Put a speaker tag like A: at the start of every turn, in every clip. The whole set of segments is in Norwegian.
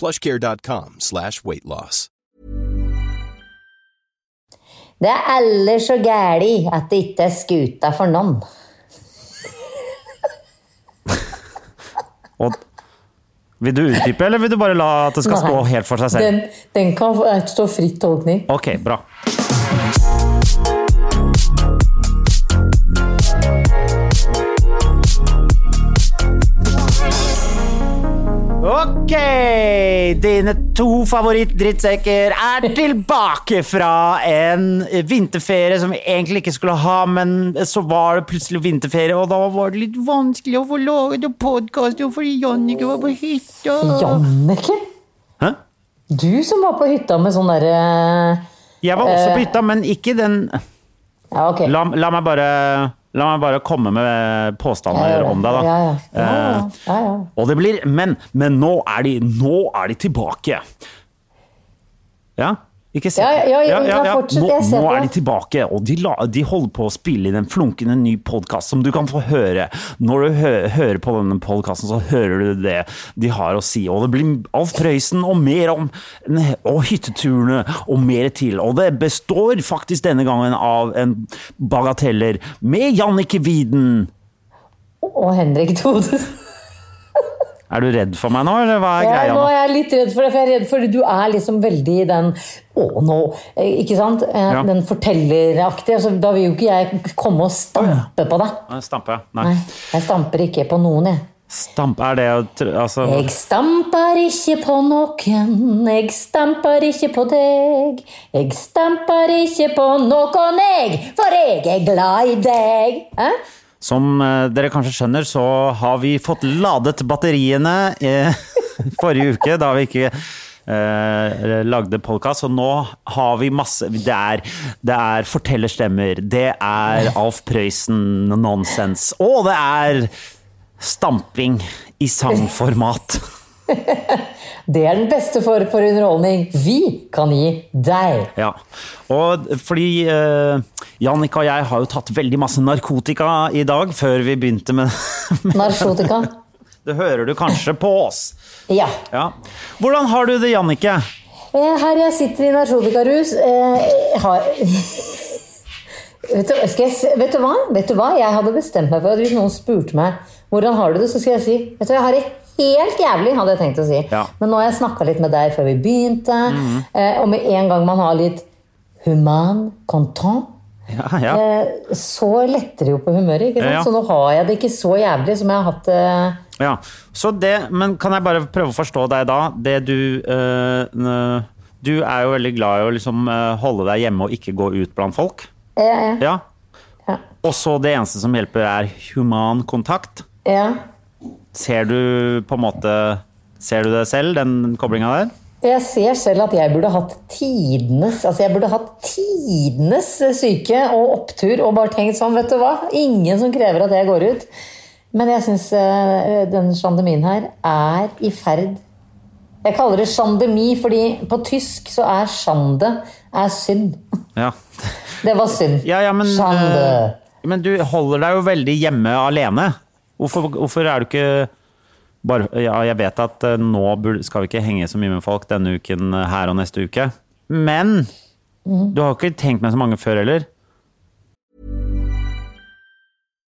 A: Plushcare.com slash weight loss.
B: Det er eller så gæli at det ikke er skuta for noen.
C: Og vil du utdype, eller vil du bare la at det skal stå
B: Nei.
C: helt for seg selv?
B: Den, den kan få- stå fritt tolkning.
C: Ok, bra. Ok! Dine to favorittdrittsekker er tilbake fra en vinterferie som vi egentlig ikke skulle ha, men så var det plutselig vinterferie, og da var det litt vanskelig å få laget noen podkast fordi Jannicke var på hytta.
B: Jannicke?
C: Hæ?
B: Du som var på hytta med sånn derre
C: Jeg var også på hytta, men ikke den
B: Ja, ok.
C: La, la, meg bare, la meg bare komme med
B: Ja,
C: påstander
B: ja,
C: om deg, da.
B: Ja, ja. Ja, ja.
C: Eh,
B: ja, ja.
C: og det blir Men, men nå, er de, nå er de tilbake! Ja? Ikke se
B: Ja, ja, ja, ja, fortsett,
C: Nå,
B: jeg ser
C: nå
B: på.
C: er de tilbake, og de, la, de holder på å spille inn en flunkende ny podkast som du kan få høre. Når du hø hører på denne podkasten, så hører du det de har å si. Og det blir Alf Prøysen og mer om og hytteturene og mer til. Og det består faktisk denne gangen av en bagateller med Jannicke Wieden.
B: Og Henrik Thodesen.
C: Er du redd for meg nå, eller hva er
B: Ja,
C: greia
B: nå
C: nå?
B: er jeg litt redd for det, for jeg er redd for du er liksom veldig i den Å, nå eh, Ikke sant? Eh,
C: Ja.
B: Den fortelleraktige. Så da vil jo ikke jeg komme og stampe på deg.
C: Nei, Eh, Stampe?
B: Nei,
C: Nei.
B: jeg stamper ikke på noen, jeg.
C: Stampe er det å tr- Altså
B: Jeg stamper ikke på noen, jeg stamper ikke på deg. Jeg stamper ikke på noen, jeg, for jeg er glad i deg. Eh?
C: Som eh, dere kanskje skjønner, så har vi fått ladet batteriene eh, forrige uke, da vi ikke eh, lagde podkast. Og nå har vi masse Det er, det er fortellerstemmer, det er Alf Prøysen-nonsens, og det er stamping i sangformat.
B: Det er den beste form for underholdning vi kan gi deg.
C: Ja, og fordi eh, Jannika og jeg har jo tatt veldig masse narkotika i dag før vi begynte med
B: Narkotika.
C: Det hører du kanskje på oss.
B: Ja.
C: Ja. Hvordan har du det, Jannicke?
B: Eh, Her jeg sitter i narkotikarus eh, jeg har... Vet du, skal jeg, se- vet, du hva? vet du hva? Jeg hadde bestemt meg for at hvis noen spurte meg hvordan har du det, så skal jeg si Vet du, jeg har det helt jævlig, hadde jeg tenkt å si.
C: Ja.
B: Men nå har jeg snakka litt med deg før vi begynte, eh, og med en gang man har litt human content,
C: Ja, ja.
B: eh, så letter det jo på humøret. ikke sant?
C: Ja.
B: Så nå har jeg det ikke så jævlig som jeg har hatt det
C: ja. Så det, men kan jeg bare prøve å forstå deg da? Det du eh, n- Du er jo veldig glad i å liksom eh, holde deg hjemme og ikke gå ut blant folk.
B: eh, eh,
C: Ja.
B: Ja.
C: Og så det eneste som hjelper, er human kontakt.
B: ja.
C: Ser du på en måte Ser du det selv, den koblinga der?
B: Jeg ser selv at jeg burde hatt tidenes altså jeg burde hatt tidenes syke og opptur og bare tenkt sånn, vet du hva? Ingen som krever at jeg går ut. Men jeg syns denne sjandemien her er i ferd Jeg kaller det sjandemi fordi på tysk så er sjande er synd.
C: Ja.
B: Det var synd.
C: Ja, ja, men,
B: sjande.
C: eh, men du holder deg jo veldig hjemme alene. Hvorfor, hvorfor er du ikke bare, ja, Jeg vet at eh, nå bur- skal vi ikke henge så mye med folk denne uken eh, her og neste uke, men du har jo ikke tenkt med så mange før heller.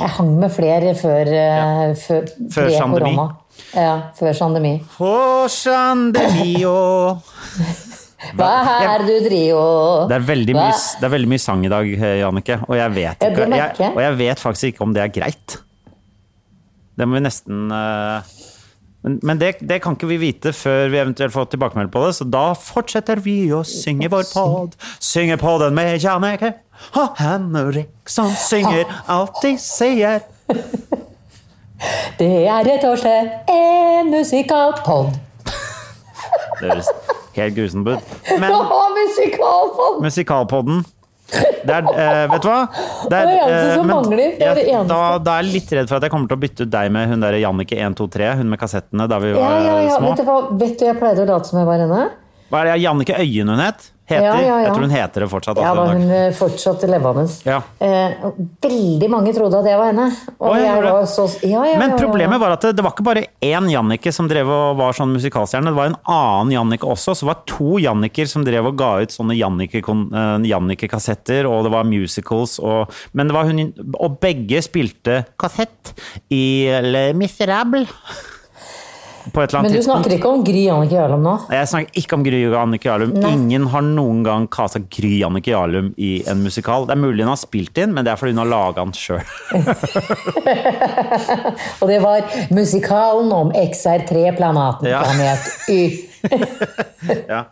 B: Jeg hang med flere før, eh, før,
C: Før
B: pre-
C: pandemi.
B: korona. Ja, før pandemi.
C: Håsan de mio.
B: Hva er du drio?
C: Det er, veldig
B: Hva?
C: mye, det er veldig mye sang i dag, eh, Jannicke. Og jeg vet,
B: Ja, det
C: ikke,
B: merker
C: jeg,
B: jeg.
C: og jeg vet faktisk ikke om det er greit. Det må vi nesten eh, Men, men det, det kan ikke vi vite før vi eventuelt får tilbakemelding på det, så da fortsetter vi å synge vår pod. Synge podden med Jannicke og Henrik som synger alt de sier.
B: Det er rett og slett en musikalpod.
C: Det høres helt grusomt ut. Men
B: Ja, musikalpod!
C: Musikalpodden. Det er, eh, vet du hva? Det
B: Det er det eneste
C: eh,
B: som mangler. Det er det
C: jeg-
B: eneste.
C: Da, da er jeg litt redd for at jeg kommer til å bytte ut deg med hun der Jannicke 123, hun med kassettene da vi
B: Ja,
C: var
B: ja, ja.
C: eh, små.
B: Vet du hva Vet du, jeg pleide å late som jeg var henne?
C: Hva er det Jannicke Øyen hun het? Heter?
B: Ja, ja, ja.
C: Jeg tror hun heter det fortsatt.
B: Ja,
C: altså,
B: da
C: hun
B: hun
C: dag.
B: eh, fortsatt levde mens.
C: Ja.
B: Eh, veldig mange trodde at jeg var henne. Og
C: Å, ja,
B: jeg
C: gjorde
B: var
C: det.
B: så ja, ja, ja,
C: Men
B: ja,
C: problemet
B: ja.
C: var at det, det var ikke bare én Jannicke som drev og var sånn musikalstjerne, det var en annen Jannicke også, så det var to Janniker som drev og ga ut sånne Jannicke- kon- eh, Jannicke-kassetter, og det var musicals og Men det var hun Og begge spilte kassett i Le Miserable. På et eller annet
B: Men du snakker ikke om Gry Jannicke Jarlum nå?
C: Jeg snakker ikke om Gry Jannicke Jarlum. Ingen har noen gang kasta Gry Jannicke Jarlum i en musikal. Det er mulig hun har spilt inn, men det er fordi hun har laga den sjøl.
B: Og det var musikalen om XR3 Planaten
C: Ja.
B: Planet Y.
C: Ja.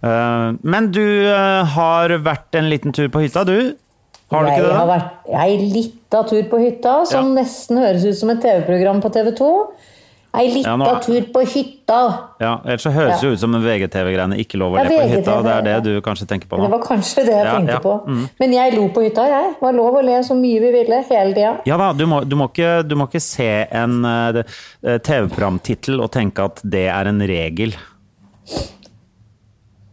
C: Eh, men du eh, har vært en liten tur på hytta, du? Har du
B: jeg
C: ikke det?
B: Har
C: da?
B: vært, ei lita tur på hytta, som
C: Ja.
B: nesten høres ut som et TV-program på TV 2. Ei lita
C: Ja, nå er-
B: tur på hytta.
C: Ja, ellers så høres det jo ut som en VGTV-greiene. Ikke lov å
B: Ja,
C: le på
B: VGTV,
C: hytta. Det er det du kanskje tenker på
B: Det
C: nå.
B: var kanskje det jeg
C: Ja, Mm.
B: tenkte
C: ja,
B: på. Men jeg lo på hytta, jeg. Det var lov å le så mye vi ville hele tida.
C: Ja da, du må, du må, ikke, du må ikke se en eh, det- eh, TV-programtittel og tenke at det er en regel.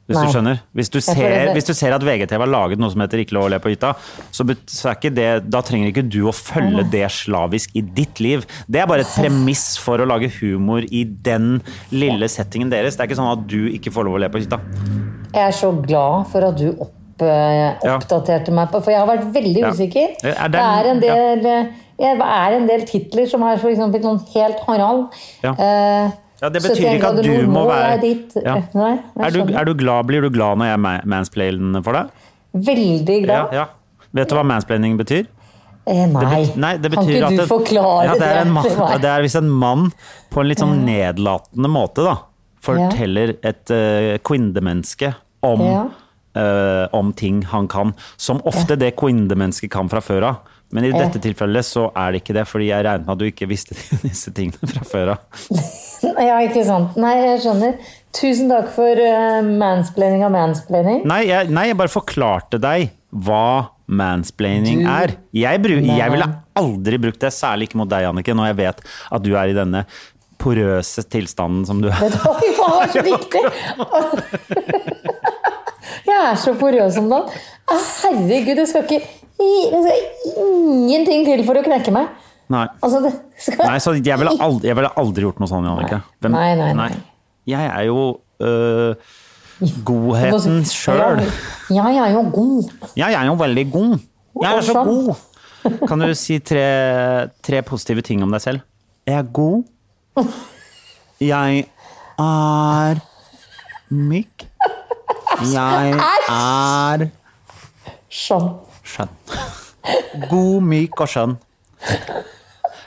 C: Hvis
B: Nei.
C: du skjønner? Hvis du,
B: føler
C: ser,
B: det-
C: hvis du ser at VGTV har laget noe som heter 'Ikke lov å le på hytta', så, bet- så er ikke det, da trenger ikke du å følge det slavisk i ditt liv. Det er bare et premiss for å lage humor i den lille settingen deres. Det er ikke sånn at du ikke får lov å le på hytta.
B: Jeg er så glad for at du opp, eh,
C: Ja.
B: oppdaterte meg på For jeg har vært veldig
C: Ja.
B: usikker.
C: Er det-
B: det er en del, eh, ja. det er en del titler som er for eksempel sånn helt Harald.
C: Ja.
B: Eh,
C: Ja, det
B: så
C: betyr
B: tenker
C: ikke
B: jeg
C: at du
B: nå
C: må
B: jeg
C: være
B: dit.
C: Ja.
B: Eh, Nei, jeg
C: er du,
B: skjønner.
C: er du glad, Blir du glad når jeg ma- mansplainer for deg?
B: Veldig glad.
C: Ja, ja. Vet du hva mansplaining betyr?
B: Eh, nei.
C: Nei, det
B: kan
C: betyr
B: ikke
C: at
B: du
C: en-
B: forklare
C: ja, det? Er en mann,
B: til meg?
C: ja, det er hvis en mann på en litt sånn nedlatende måte da, forteller et uh, kvinnemenneske om, eh, om ting han kan, som ofte det kvinnemennesket kan fra før av. Men i dette tilfellet så er det ikke det, fordi jeg regnet med at du ikke visste disse tingene fra før av.
B: Ja, ikke sant. Nei, jeg skjønner. Tusen takk for uh, mansplaining av mansplaining.
C: Nei, jeg, nei, jeg bare forklarte deg hva mansplaining er. Jeg, bru, jeg ville aldri brukt det, særlig ikke mot deg, Jannicke, når jeg vet at du er i denne porøse tilstanden som du er.
B: Vet du hva, Fy faen, det var så viktig! Jeg er så porøs om dagen. Å, Herregud, det skal ikke Det skal ingenting til for å knekke meg.
C: Nei.
B: Altså, det skal
C: Nei, så jeg ville aldri, jeg ville aldri gjort noe sånt, Jannicke. Hvem-
B: Nei, nei, nei.
C: Jeg er jo øh, godheten sjøl.
B: Ja, jeg er jo god.
C: Jeg er jo veldig god. Jeg er så
B: Sånn.
C: god. Kan du si tre, tre positive ting om deg selv? Jeg er god. Jeg er myk. Jeg er
B: Sånn.
C: skjønn. God, myk og skjønn.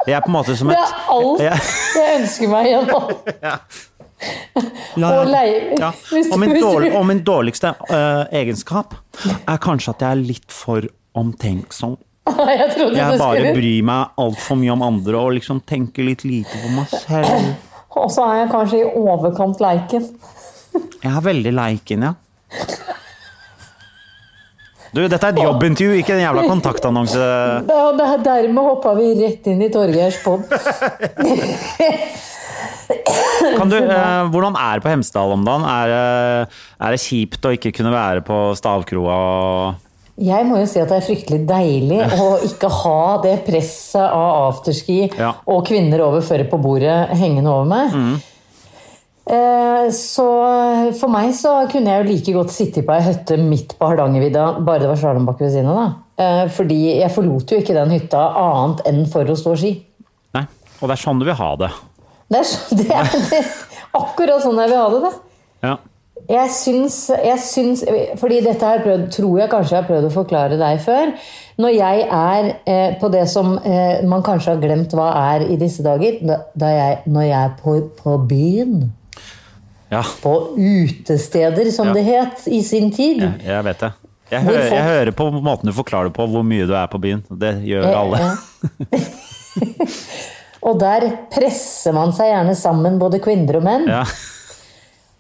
C: Jeg er på en måte som
B: Det
C: et
B: er alt
C: Ja.
B: jeg ønsker meg gjennom. Og lei-
C: Ja.
B: hvis du-
C: Og, min
B: hvis du-
C: dårlig, og min dårligste øh, egenskap er kanskje at jeg er litt for omtenksom.
B: Jeg trodde du
C: Jeg bare
B: skulle
C: bryr meg altfor mye om andre og liksom tenker litt lite på meg selv.
B: Og så er jeg kanskje i overkant leiken.
C: Jeg er veldig leiken, ja. Du, dette er et jobbintervju, ikke en jævla kontaktannonse.
B: Ja, og der- dermed hoppa vi rett inn i Torgeirs pod.
C: Kan du, eh, hvordan er det på Hemsedal om dagen? Er, det- er det kjipt å ikke kunne være på stavkroa? og-
B: Jeg må jo si at det er fryktelig deilig å ikke ha det presset av afterski
C: Ja.
B: og kvinner over føret på bordet hengende over meg. Eh, Så for meg så kunne jeg jo like godt sitte på ei hytte midt på Hardangervidda, bare det var slalåmbakke ved siden av, da. Eh, Fordi jeg forlot jo ikke den hytta annet enn for å stå ski.
C: Nei, og det er sånn du vil ha det.
B: Det er, så, det er, det er akkurat sånn jeg vil ha det, da.
C: Ja.
B: Jeg syns, jeg syns Fordi dette har jeg prøvd, tror jeg kanskje jeg har prøvd å forklare deg før. Når jeg er eh, på det som eh, man kanskje har glemt hva er i disse dager da, da jeg, Når jeg er på, på byen,
C: ja.
B: på utesteder som
C: Ja.
B: det het i sin tid
C: Jeg, jeg vet det. Jeg
B: Hvor
C: hører, jeg
B: folk-
C: hører på måten du forklarer det på, hvor mye du er på byen. Det gjør alle.
B: Ja. Og der presser man seg gjerne sammen, både kvinner og menn.
C: Ja.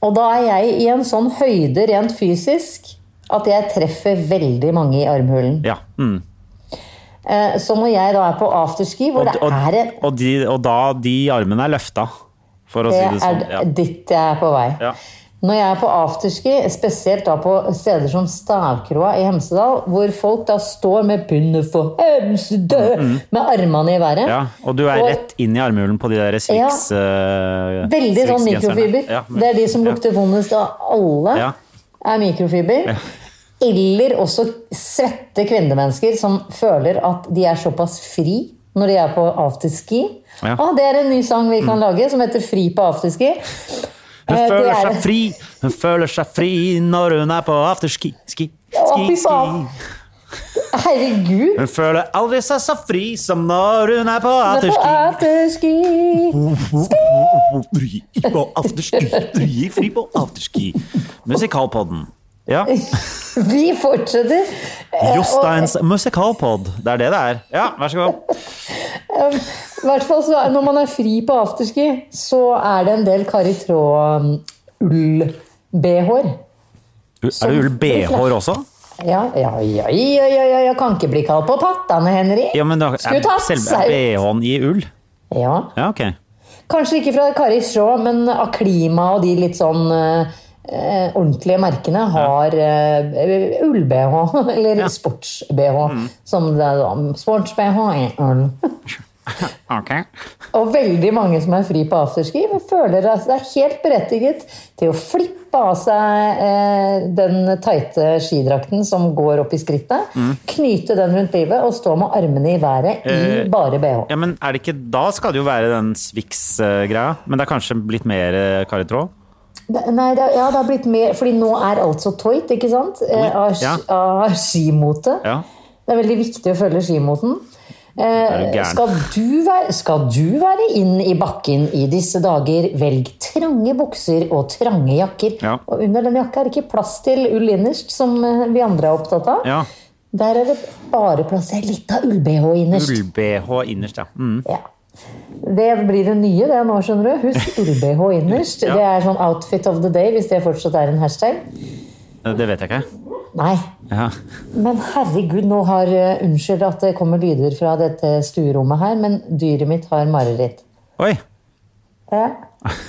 B: Og da er jeg i en sånn høyde rent fysisk at jeg treffer veldig mange i armhulen.
C: ja. Mm.
B: Eh, Så når jeg da er på afterski, hvor
C: Og,
B: det
C: og,
B: er en
C: og, de, og da de armene er løfta, for å
B: Det
C: si
B: er
C: det sånn. Ja.
B: dit jeg er på vei.
C: Ja.
B: Når jeg er på afterski, spesielt da på steder som Stavkroa i Hemsedal, hvor folk da står med bundet for Hemsedø med armene i været.
C: Mm. Ja, og du er
B: Og-
C: rett inn i armhulen på de der Swix eh,
B: Veldig sånn
C: Swix-genserne.
B: mikrofiber.
C: Ja, men-
B: det er de som
C: ja.
B: lukter vondest av alle.
C: Ja.
B: Er mikrofiber. Eller også svette kvinnemennesker som føler at de er såpass fri når de er på afterski.
C: Ja. Mm.
B: Ah, det er en ny sang vi kan lage som heter 'Fri på afterski'.
C: Hun
B: Eh, det
C: føler
B: er-
C: seg fri, hun føler seg fri når hun er på afterski. Ski,
B: Å,
C: ski,
B: fy faen.
C: ski.
B: Herregud!
C: Hun føler aldri seg så fri som når hun er på
B: På
C: afterski.
B: afterski.
C: Fri på afterski, fri, fri på afterski. Musikalpodden. Ja.
B: Vi fortsetter. Eh,
C: Josteins musikalpodd. Det er det det er. Ja, vær så god.
B: og, eh, I hvert fall så er- når man er fri på afterski, så er det en del Kari um, Traa-ull-bh-er.
C: Er det ull BH-er også?
B: Ja, ja, ja, ja, ja, ja, ja, kan ikke bli kald på pattene, Henrik.
C: Ja, men da,
B: Skulle
C: er
B: tatt
C: selve
B: seg ut.
C: BH-en i ull?
B: Ja.
C: Ja, ok.
B: Kanskje ikke fra Kari Traa, men av klima og de litt sånn eh, eh, ordentlige merkene har eh, ull-bh, eller sports-bh, som det er da. Sports-bh er ull. Og veldig mange som er fri på afterski, føler at det er helt berettiget til å flippe av seg eh, den tighte skidrakten som går opp i skrittet,
C: Mm.
B: knyte den rundt livet og stå med armene i været
C: Eh,
B: i bare bh.
C: Ja, men er det ikke, Da skal det jo være den Swix-greia, men det er kanskje blitt mer eh, Kari Traa?
B: Det, nei, det, ja, det har blitt mer Fordi nå er alt så toit, ikke sant? Eh, av,
C: ja.
B: av skimote.
C: Ja.
B: Det er veldig viktig å følge skimoten.
C: Er du
B: Eh,
C: gæren?
B: skal, du være, skal du være inn i bakken i disse dager, velg trange bukser og trange jakker.
C: Ja.
B: Og under den jakka er det ikke plass til ull innerst, som eh, vi andre er opptatt av.
C: Ja.
B: Der er det bare plass til litt av ull-bh innerst.
C: Ull-BH innerst, ja. Mm.
B: Ja. Det blir det nye det nå, skjønner du. Husk ull-BH innerst.
C: Ja.
B: Det er sånn outfit of the day, hvis det fortsatt er en hashtag.
C: Det vet jeg ikke.
B: Nei.
C: Ja.
B: Men herregud, nå har eh, Unnskyld at det kommer lyder fra dette stuerommet her, men dyret mitt har mareritt.
C: Oi!
B: Ja.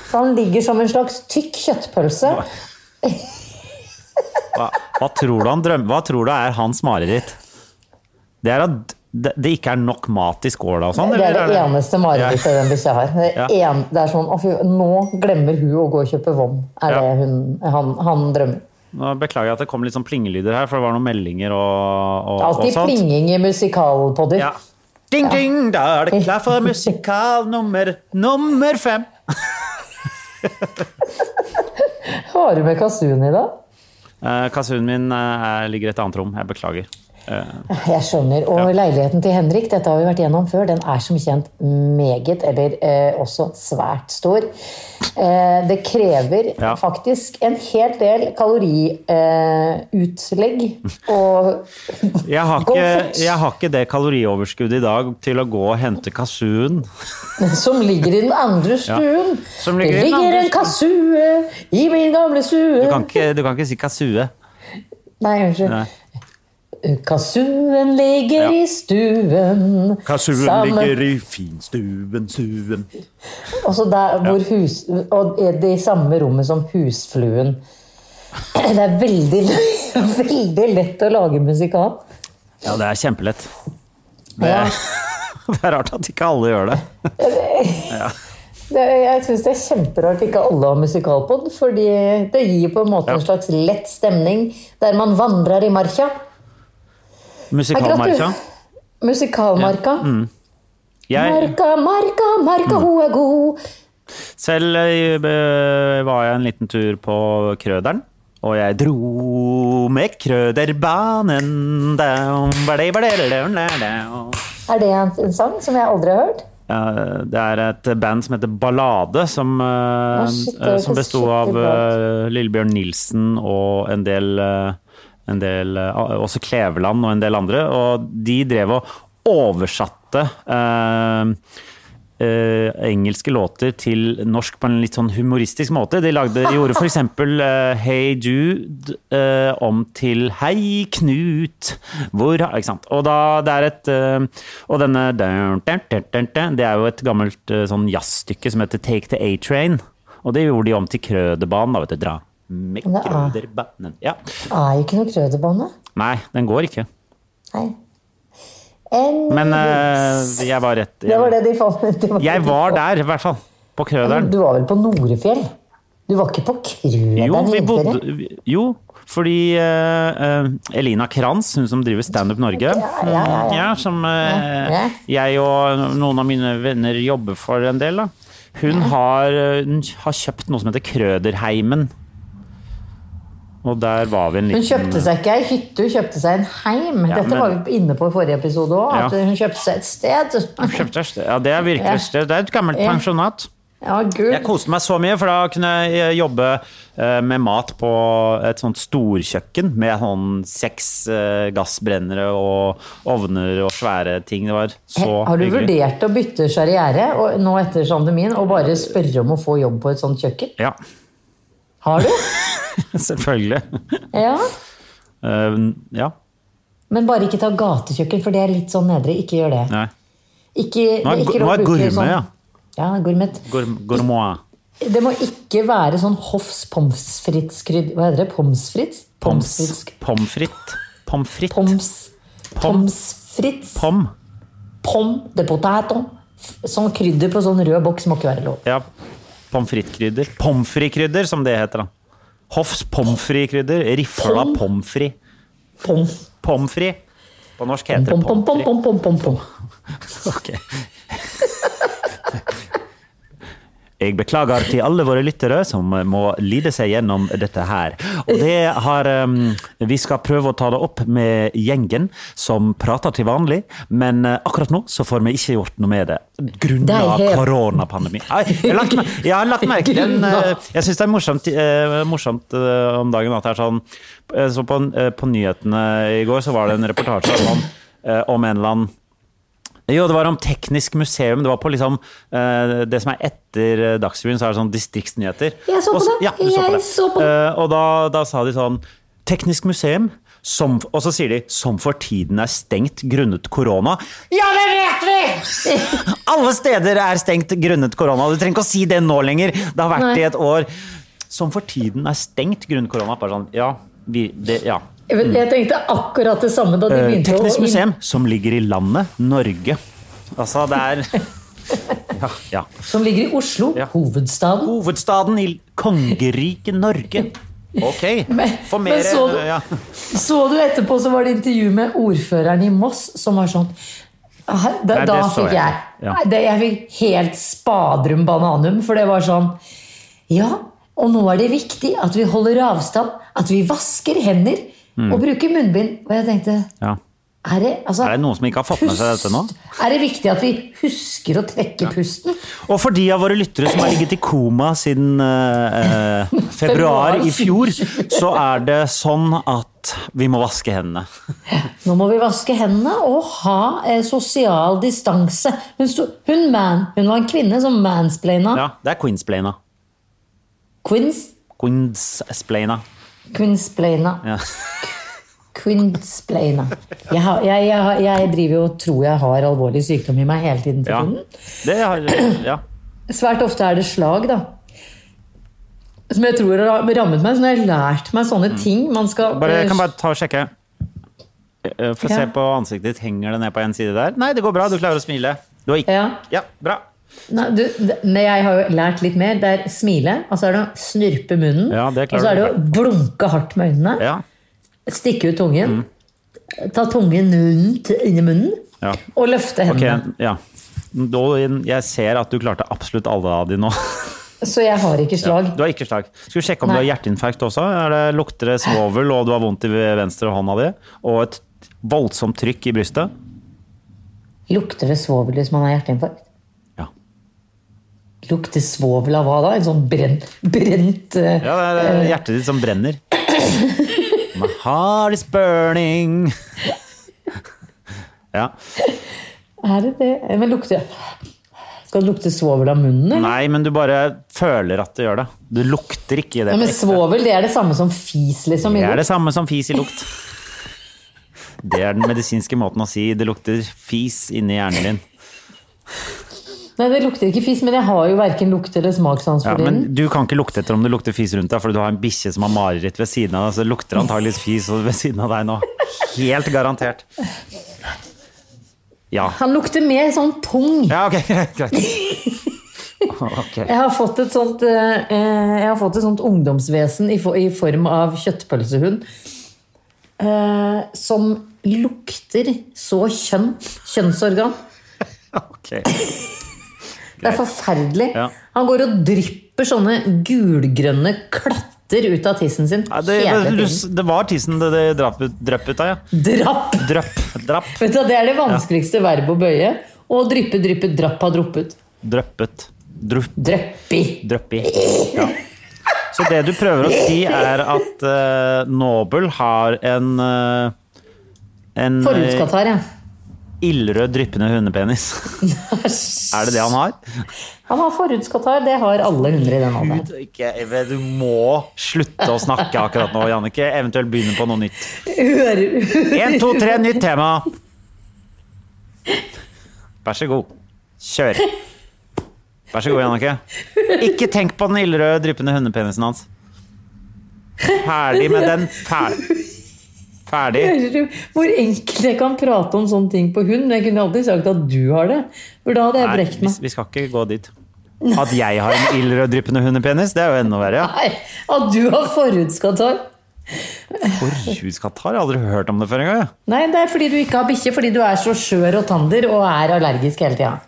B: Så han ligger som en slags tykk kjøttpølse.
C: Hva, hva, tror du han drøm, hva tror du er hans mareritt? Det er at det, det ikke er nok mat i skåla og sånn?
B: Det er
C: eller
B: det eneste marerittet den bikkja har. Det, er
C: Ja.
B: en, det er sånn, å fy, Nå glemmer hun å gå og kjøpe vom, er
C: Ja.
B: det hun, han, han drømmer.
C: Nå beklager jeg at det kom litt sånn plingelyder her, for det var noen meldinger og, og, og
B: Alltid
C: sånt.
B: plinging i musikalpodder.
C: Ja. Ding, ding, da er det klar for musikal nummer, nummer fem.
B: Har du med kasun i dag?
C: Eh, Kasunn min eh, er- ligger i et annet rom. Jeg beklager.
B: Jeg skjønner. Og leiligheten til Henrik, dette har vi vært gjennom før, den er som kjent meget, eller eh, også svært stor. Eh, det krever
C: Ja.
B: faktisk en hel del kaloriutlegg eh, og
C: Jeg har,
B: Gå
C: ikke,
B: fort.
C: jeg har ikke det kalorioverskuddet i dag til å gå og hente kasun.
B: som ligger i den andre stuen.
C: Som ligger
B: det
C: i den
B: ligger
C: andre
B: en kasue i min gamle
C: Du
B: stue.
C: kan ikke, du kan ikke si kasue.
B: Nei, unnskyld.
C: Nei.
B: Kazooen ligger i stuen.
C: Kasuen
B: Sammen-
C: ligger i finstuen, stuen
B: Og så der Altså, hvor hus... Og er det i samme rommet som husfluen. Det er veldig, veldig lett å lage musikal.
C: Ja, det er kjempelett.
B: Ja.
C: Det er rart at ikke alle gjør det.
B: Det, jeg syns det er kjemperart ikke alle har musikalpod, fordi det gir på en måte en slags lett stemning der man vandrer i marka.
C: Musikalmarka.
B: Musikalmarka.
C: Mm. Jeg, Mm.
B: Marka, marka, marka, ho er god.
C: selv eh, var jeg en liten tur på Krøderen. Og jeg dro med krøderbanen down, badi, badi, down, down, down.
B: Er det en, en sang som jeg aldri har hørt?
C: Eh, Det er et band som heter Ballade, som, eh,
B: shit, det
C: eh,
B: høres
C: som besto av
B: skikkelig bra
C: eh, Lillebjørn Nilsen og en del, eh, en del eh, Også Kleveland og en del andre. Og de drev og oversatte eh, eh, engelske låter til norsk på en litt sånn humoristisk måte. De lagde, gjorde f.eks. Uh, 'Hey Jude' eh, om til 'Hei Knut'. Hvor, har- ikke sant? Og da det er et eh, Og denne dun, dun, dun, dun, dun, Det er jo et gammelt eh, sånn jazzstykke som heter 'Take the A-Train'. Og det gjorde de om til Krøderbanen. Da vet du, dra med
B: Nei.
C: Krøderbanen. Ja.
B: Det Ah, er jo ikke noe krøderbane.
C: Nei, den går ikke.
B: Nei. En,
C: Men eh, jeg var rett
B: det var det de fant. det var det
C: Jeg
B: de
C: var
B: fant.
C: der, i hvert fall. På Krøderen.
B: Du var vel på Norefjell? Du var ikke på Krøderen?
C: Jo, vi
B: i
C: bodde,
B: ferie?
C: vi- jo fordi eh, eh, Elina Kranz, hun som driver Standup Norge,
B: Ja, ja, ja, ja.
C: ja, som eh,
B: Ja,
C: jeg og noen av mine venner jobber for en del, da. Hun har, eh, hun har kjøpt noe som heter Krøderheimen. Og der var vi en
B: Hun
C: liten
B: kjøpte seg ikke ei hytte, hun kjøpte seg en heim.
C: Ja,
B: Dette
C: men-
B: var vi inne på i forrige episode òg.
C: Ja.
B: Hun kjøpte seg et sted.
C: Kjøpte et sted. Ja, det er virkelig
B: Ja.
C: et sted. Det er et gammelt
B: Ja.
C: pensjonat.
B: Ja, gud.
C: Jeg koste meg så mye, for da kunne jeg jobbe eh, med mat på et sånt storkjøkken med sånn seks eh, gassbrennere og ovner og svære ting. Det var så
B: Har du
C: hyggelig.
B: vurdert å bytte karriere og, nå etter pandemien og bare spørre om å få jobb på et sånt kjøkken?
C: Ja,
B: Har du?
C: selvfølgelig.
B: Ja.
C: Eh, ja,
B: Men bare ikke ta gatekjøkken, for det er litt sånn nedre. Ikke gjør det.
C: nei.
B: Ikke,
C: Nå er,
B: det ikke
C: nå
B: lov å
C: er
B: bruke
C: gourmet,
B: sånn-
C: ja.
B: Ja, gourmet.
C: Gour- Gourmet.
B: Det må ikke være sånn Hoffs pommes frites-krydd... Hva heter det? Pommes frites?
C: Pommes
B: frites-
C: pommes frites. Pommes frites.
B: Pommes,
C: Pom.
B: pommes frites.
C: Pom.
B: Pom de potato. F- Sånn krydder på sånn rød boks må ikke være lov.
C: Ja. Pommes frites-krydder. Pommes frites-krydder, som det heter, da. Hoffs pommes frites-krydder. Rifla
B: Pom.
C: pommes frites.
B: Pom,
C: Pommes frites. På norsk heter
B: pom,
C: det
B: pom,
C: pommes
B: pom,
C: frites.
B: pom, pom, pom, pom.
C: Ok. Jeg beklager til alle våre lyttere som eh, må lide seg gjennom dette her. Og det har um, Vi skal prøve å ta det opp med gjengen som prater til vanlig, men eh, akkurat nå så får vi ikke gjort noe med det. Grunnet
B: Det er helt-
C: koronapandemien. Nei, Jeg har lagt mer- jeg har lagt merke til den eh, Jeg syns det er morsomt, eh, morsomt eh, om dagen at det er sånn eh, Så på, eh, på nyhetene i går så var det en reportasje om, eh, om en eller annen jo, det var om teknisk museum. Det var på liksom eh, Det som er etter eh, Dagsrevyen, så er det sånn distriktsnyheter.
B: Jeg så på
C: Og
B: det.
C: Ja, du så på
B: Jeg
C: det.
B: så på det.
C: Eh, og da, da sa de sånn Teknisk museum, som, og så sier de 'som for tiden er stengt grunnet korona'. Ja, det vet vi! Alle steder er stengt grunnet korona. Du trenger ikke å si det nå lenger. Det har vært
B: Nei.
C: i et år. Som for tiden er stengt grunnet korona. Bare sånn, ja, vi, det, ja.
B: Jeg vet- jeg tenkte akkurat det samme da de
C: Eh,
B: begynte
C: Teknisk
B: å
C: museum som ligger i landet Norge. Altså, det er ja, ja.
B: Som ligger i Oslo,
C: Ja.
B: hovedstaden.
C: Hovedstaden i kongeriket Norge. Ok.
B: Men-
C: For
B: men
C: mer
B: så du-
C: ja.
B: Så du etterpå så var det intervju med ordføreren i Moss, som var sånn Ah, Da,
C: Nei, det
B: da
C: så
B: fikk
C: jeg
B: jeg
C: ikke. Ja.
B: Nei, det, Jeg fikk helt spadrum bananum, for det var sånn Ja, og nå er det viktig at vi holder avstand, at vi vasker hender og bruker munnbind. Og jeg tenkte
C: ja.
B: Er det, altså,
C: Mm. Er det noen som ikke har fått med seg dette nå?
B: pust- Er det viktig at vi husker å trekke pusten?
C: Og for de av våre lyttere som har ligget i koma siden eh, eh, februar i fjor, så er det sånn at vi må vaske hendene.
B: Nå må vi vaske hendene og ha eh, sosial distanse. Hun, sto, hun, man, hun var en kvinne som mansplaina.
C: Ja, det er queensplaina.
B: Quins,
C: Queensplaina.
B: quinsplaina.
C: Ja.
B: Quintsplaina. Jeg, har- jeg, jeg, har- jeg driver jo og tror jeg har alvorlig sykdom i meg hele tiden. for
C: Ja.
B: tiden.
C: Det har, ja.
B: Svært ofte er det slag, da. Som jeg tror har rammet meg. Så når jeg har lært meg sånne ting man skal,
C: Mm. Bare, jeg kan
B: eh,
C: bare ta og sjekke. Eh, Få se
B: Ja.
C: på ansiktet ditt. Henger det ned på en side der? Nei, det går bra. Du klarer å smile. Du har ikke
B: Ja.
C: Ja, bra.
B: eh, Nei, du, det- nei, jeg har jo lært litt mer. Det er smile, og så er det å snurpe munnen.
C: Ja, det
B: og
C: klarer
B: så er det
C: du.
B: å blunke hardt med øynene.
C: Ja. Mm.
B: Stikke ut tungen. Ta tungen rundt inni munnen.
C: Ja.
B: Og løfte
C: Ok,
B: hendene.
C: ja. Nå, jeg ser at du klarte absolutt alle av de nå.
B: Så jeg har ikke slag.
C: Du har ikke slag. Skal vi sjekke om
B: Nei.
C: du har hjerteinfarkt også? Er det, lukter det svovel, og du har vondt i venstre hånda di? Og et voldsomt trykk i brystet?
B: Lukter det svovel hvis man har hjerteinfarkt?
C: Ja.
B: Lukter svovel av hva da? En sånn brent, brent eh,
C: ja det er hjertet ditt som brenner. My heart is burning. Ja.
B: Er det det? Men lukter Skal det lukte svovel av munnen? eller?
C: Nei, men du bare føler at det gjør det. Du lukter ikke det.
B: Ja,
C: på
B: men
C: ekte.
B: svovel det er det samme som fis, liksom? i
C: Det er det
B: lukt.
C: samme som fis i lukt. Det er den medisinske måten å si det lukter fis inni hjernen din.
B: Nei, det lukter ikke fis, men jeg har jo verken lukt eller smakssans
C: Ja,
B: for tiden.
C: men du kan ikke lukte etter om det lukter fis rundt deg, fordi du har en bikkje som har mareritt ved siden av deg, så det lukter antageligvis fis ved siden av deg nå. Helt garantert. Ja.
B: Han lukter mer sånn pung.
C: Ja, ok, greit. greit. Ok.
B: Jeg har fått et sånt, eh, eh, jeg har fått et sånt ungdomsvesen i, for, i form av kjøttpølsehund. Eh, som lukter så kjønn. Kjønnsorgan.
C: ok.
B: Det er forferdelig.
C: Ja.
B: Han går og drypper sånne gulgrønne klatter ut av tissen sin
C: Ja, det,
B: hele
C: det,
B: tiden.
C: det var tissen det, det drapp ut- drøpp ut av, ja.
B: Drapp!
C: Drøpp, drapp,
B: Vet du, hva, Det er det vanskeligste verbet å bøye. Og dryppe, dryppe, drapp har droppet.
C: drøppet, drupp.
B: Drøppi.
C: Drøppi. Ja. Så det du prøver å si, er at eh, Nobel har en eh, En eh,
B: Forhudskatarr, ja.
C: ildrød, dryppende hundepenis. er det det han har?
B: Han har forhudskatarr. Det har alle hunder i den alderen.
C: Gud, ikke, jeg vet, du må slutte å snakke akkurat nå, Jannicke. Eventuelt begynne på noe nytt.
B: Hører-
C: Én, to, tre, nytt tema! Vær så god. Kjør. Vær så god, Jannicke. Ikke tenk på den ildrøde, dryppende hundepenisen hans. Ferdig med den. Ferdig. Ferdig.
B: Hører du hvor enkelt jeg kan prate om sånne ting på hund? Men jeg kunne aldri sagt at du har det. For da hadde jeg
C: Nei,
B: brekt
C: vi,
B: meg.
C: vi skal ikke gå dit. At jeg har en ildrød, dryppende hundepenis, det er jo enda verre. ja.
B: Nei, at du har forhudskatarr.
C: Forhudskatarr? Jeg har aldri hørt om det før engang. jeg.
B: Nei, det er fordi du ikke har bikkje, fordi du er så skjør og tander og er allergisk hele tida.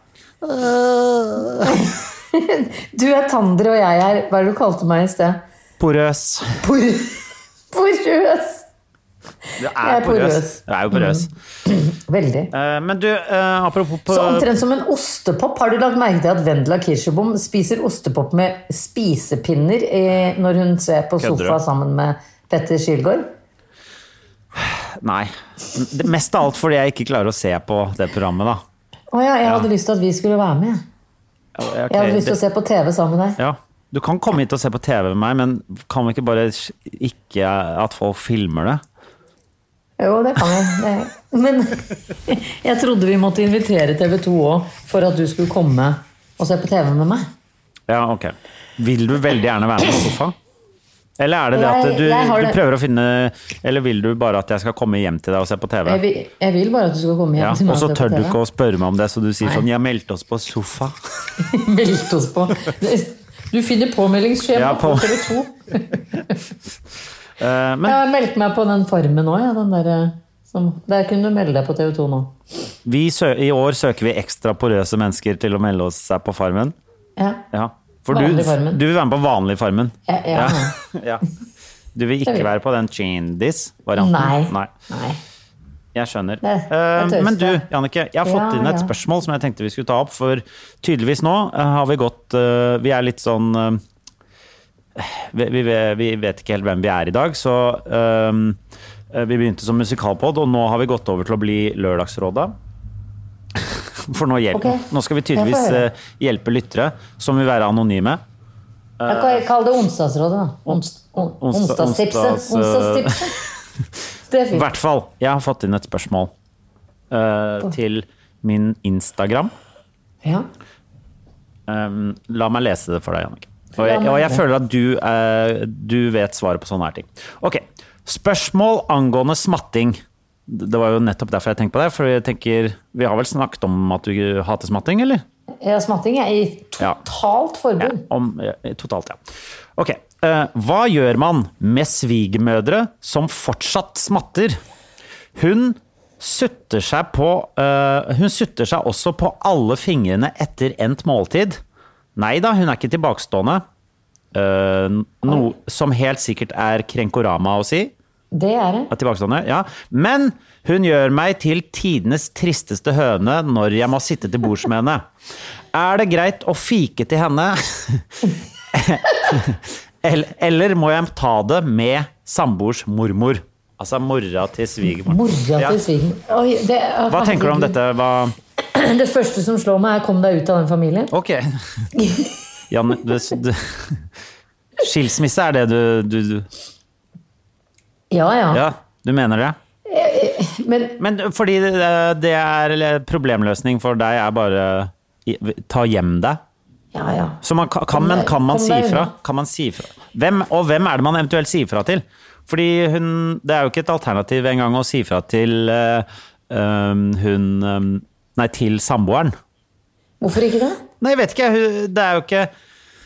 B: Du er tander, og jeg er Hva er det du kalte meg i sted?
C: Porøs.
B: Por- Porøs!
C: Du er,
B: er porøs.
C: Du er jo porøs.
B: Veldig.
C: Eh, men du, eh, apropos på,
B: Så omtrent som en ostepop. Har du lagt merke til at Vendela Kirsebom spiser ostepop med spisepinner eh, når hun ser på
C: Kødder du?
B: sofa sammen med Petter Schilgaard?
C: Nei. Det mest av alt fordi jeg ikke klarer å se på det programmet, da.
B: Å ja, jeg hadde lyst til at vi skulle være med.
C: Ok,
B: Jeg hadde lyst til å se på TV sammen med deg.
C: Ja. Du kan komme hit og se på TV med meg, men kan vi ikke bare s- ikke at folk filmer det?
B: Jo, det kan jeg. Det- Men jeg trodde vi måtte invitere TV 2 òg for at du skulle komme og se på TV med meg.
C: Ja, ok. Vil du veldig gjerne være med på sofa? Eller er det
B: Jeg-
C: det at du,
B: jeg har
C: du
B: det-
C: prøver å finne Eller vil du bare at jeg skal komme hjem til deg og se på TV?
B: Jeg vil, jeg vil bare at du skal komme hjem
C: Ja,
B: til meg.
C: og så
B: se på
C: tør du
B: TV.
C: ikke å spørre meg om det, så du sier
B: Nei.
C: sånn 'Jeg meldte oss på sofa'.
B: Meldte oss på. Du finner påmeldingsskjema
C: Ja, på-
B: på TV 2.
C: Eh, men
B: Jeg har meldt meg på den formen òg, ja, den der, eh, som, der kunne du melde deg på TV 2 nå.
C: vi sø i år søker vi ekstra porøse mennesker til å melde oss seg på Farmen.
B: Ja.
C: Ja. For du,
B: Vanlig Farmen.
C: du vil være med på vanlig Farmen.
B: Ja, ja.
C: ja. Du vil ikke
B: vil jeg.
C: være på den Chindis-varianten?
B: Nei. Nei.
C: Jeg skjønner.
B: Nei, jeg
C: Eh,
B: tøyste.
C: men du, Jannicke, jeg har fått
B: Ja,
C: inn et
B: ja.
C: spørsmål som jeg tenkte vi skulle ta opp, for tydeligvis nå eh, har vi gått eh, Vi er litt sånn eh, vi, vi, vi vet ikke helt hvem vi er i dag, så eh, eh, vi begynte som musikalpod, og nå har vi gått over til å bli Lørdagsrådet. For nå, hjelper.
B: Ok.
C: nå skal vi
B: Jeg får
C: tydeligvis
B: høre.
C: eh, hjelpe lyttere som vil være anonyme.
B: Jeg kan kalle det Onsdagsrådet, da. Ons, on,
C: Ons-
B: onsdagstipset.
C: onsdags, eh,
B: Onsdagstipset. Det er
C: I
B: fint.
C: hvert fall, jeg har fått inn et spørsmål eh, til min Instagram.
B: Ja.
C: Um, la meg lese det for deg, Jannicke. Og
B: La
C: jeg,
B: meg
C: og jeg
B: det.
C: føler at du, eh, du vet svaret på sånne her ting. Ok, Spørsmål angående smatting. Det var jo nettopp derfor jeg tenkte på det. For jeg tenker, Vi har vel snakket om at du hater smatting, eller?
B: Ja, Eh, Smatting er i
C: Ja.
B: totalt forbud.
C: Om, eh, totalt, ja. Ok. eh, hva gjør man med svigermødre som fortsatt smatter? Hun sutter seg på eh, Hun sutter seg også på alle fingrene etter endt måltid. Nei da, hun er ikke tilbakestående. Eh, noe som helt sikkert er krenkorama å si.
B: Det er det.
C: Ja, tilbakestående, ja. Men hun gjør meg til tidenes tristeste høne når jeg må sitte til bords med henne. Er det greit å fike til henne? eller, eller må jeg ta det med samboers mormor? Altså mora til svigermoren.
B: Mora
C: Ja.
B: til svigen. Oi, det- ah,
C: Hva tenker du om dette? Hva
B: Det første som slår meg, er 'kom deg ut av den familien'.
C: Ok. Janne, du, du, skilsmisse er det du, du, du
B: Ja, ja.
C: Ja, du mener det?
B: Men
C: Men fordi eh, det er eller problemløsning for deg er bare i- ta hjem deg.
B: ja, ja.
C: Så man, ka- kan, men kan man si ifra? Kan man si ifra? Hvem, og hvem er det man eventuelt sier ifra til? Fordi hun Det er jo ikke et alternativ engang å si ifra til eh, um, hun um, Nei, til samboeren.
B: Hvorfor ikke det?
C: Nei, jeg vet ikke. hun- Det er jo ikke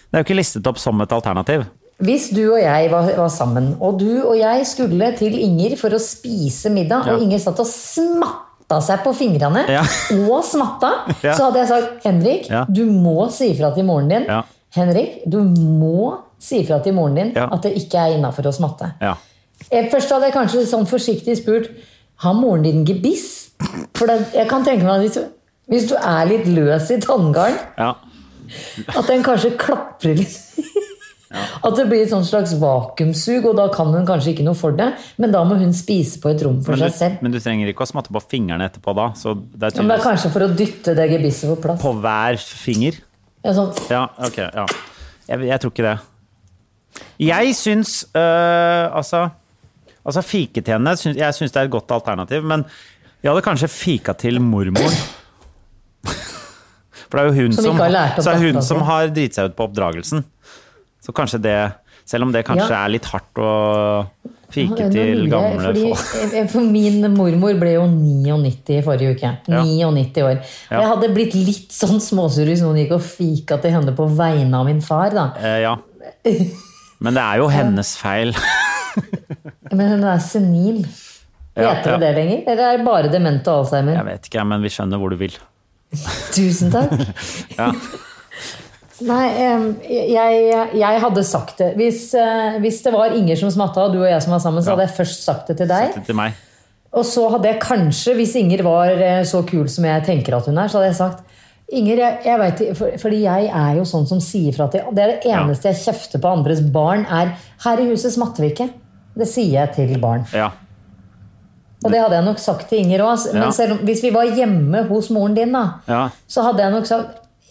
C: det er jo ikke listet opp som et alternativ.
B: Hvis du og jeg var, var sammen, og du og jeg skulle til Inger for å spise middag, og
C: Ja.
B: Inger satt og smatta seg på fingrene,
C: Ja.
B: og smatta,
C: Ja.
B: så hadde jeg sagt 'Henrik,
C: Ja.
B: du må si ifra til moren din'.
C: Ja.
B: Henrik, du må si ifra til moren din
C: Ja.
B: at det ikke er innafor å smatte.
C: Ja.
B: Jeg- Først hadde jeg kanskje sånn forsiktig spurt Har moren din gebiss? For det, jeg kan tenke meg at hvis du, hvis du er litt løs i tanngarden,
C: ja.
B: at den kanskje klapper litt. At det blir et sånt slags vakuumsug, og da kan hun kanskje ikke noe for det. Men da må hun spise på et rom for
C: Men,
B: seg
C: du,
B: selv.
C: men du trenger ikke å smatte på fingrene etterpå da. Så det er
B: Men det er
C: tydeligvis
B: kanskje for å dytte det gebisset på plass.
C: på hver finger.
B: Ja, sånn.
C: Ja, ok. Ja. Jeg, jeg tror ikke det. Jeg syns øh, Altså, altså fike til henne syns, Jeg syns det er et godt alternativ, men jeg hadde kanskje fika til mormor. For det er jo hun
B: Som
C: som,
B: ikke har lært opp
C: så er det hun
B: datteren
C: som
B: sin.
C: har driti seg ut på oppdragelsen. Så kanskje det Selv om det kanskje
B: Ja.
C: er litt hardt å fike
B: Nå lurer
C: til
B: jeg,
C: gamle
B: fordi,
C: folk.
B: eh, For min mormor ble jo 99 i forrige uke.
C: Ja.
B: 99 år. Og
C: Ja.
B: jeg hadde blitt litt sånn småsur hvis noen gikk og fika til henne på vegne av min far. da.
C: Eh, ja. Men det er jo hennes feil.
B: Men hun er senil.
C: Ja,
B: Heter
C: ja.
B: det det lenger? Eller er det bare demente og alzheimer?
C: Jeg vet ikke, men vi skjønner hvor du vil.
B: Tusen takk.
C: Ja.
B: Nei, em, jeg, jeg hadde sagt det. Hvis, eh, hvis det var Inger som smatta, og du og jeg som var sammen, så
C: Ja.
B: hadde jeg først sagt det til deg.
C: Til meg.
B: Og så hadde jeg kanskje, hvis Inger var eh, så kul som jeg tenker at hun er, så hadde jeg sagt Inger, jeg, jeg vet, ikke- for, fordi jeg er jo sånn som sier fra til Det er det
C: Ja.
B: eneste jeg kjefter på andres barn, er Her i huset smatter vi ikke. Det sier jeg til barn.
C: Ja.
B: Og det hadde jeg nok sagt til Inger òg.
C: Ja.
B: Men selv om, hvis vi var hjemme hos moren din, da,
C: Ja.
B: så hadde jeg nok sagt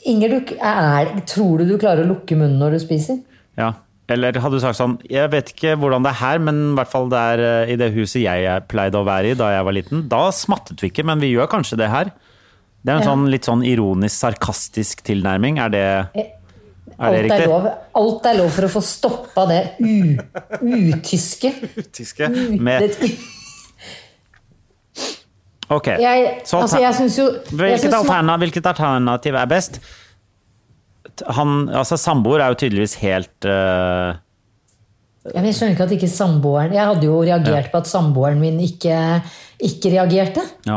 B: Inger, du, er, tror du du klarer å lukke munnen når du spiser?
C: Ja. Eller hadde du sagt sånn Jeg vet ikke hvordan det er her, men i hvert fall det er eh, i det huset jeg er- pleide å være i da jeg var liten. Da smattet vi ikke, men vi gjør kanskje det her. Det er en
B: Ja.
C: sånn litt sånn ironisk, sarkastisk tilnærming. Er det, er det
B: Eh, Alt er,
C: riktig?
B: lov, alt er lov for å få stoppa det u- utyske.
C: Tyske. Med,
B: Mm. Det-
C: ok.
B: Jeg,
C: Så
B: altså,
C: alter-
B: jeg syns jo jeg
C: hvilket,
B: synes-
C: alternativ, hvilket alternativ er best? T- Han, altså Samboer er jo tydeligvis helt eh,
B: Ja, men Jeg skjønner ikke at ikke samboeren Jeg hadde jo reagert på at samboeren min ikke, ikke reagerte.
C: Ja.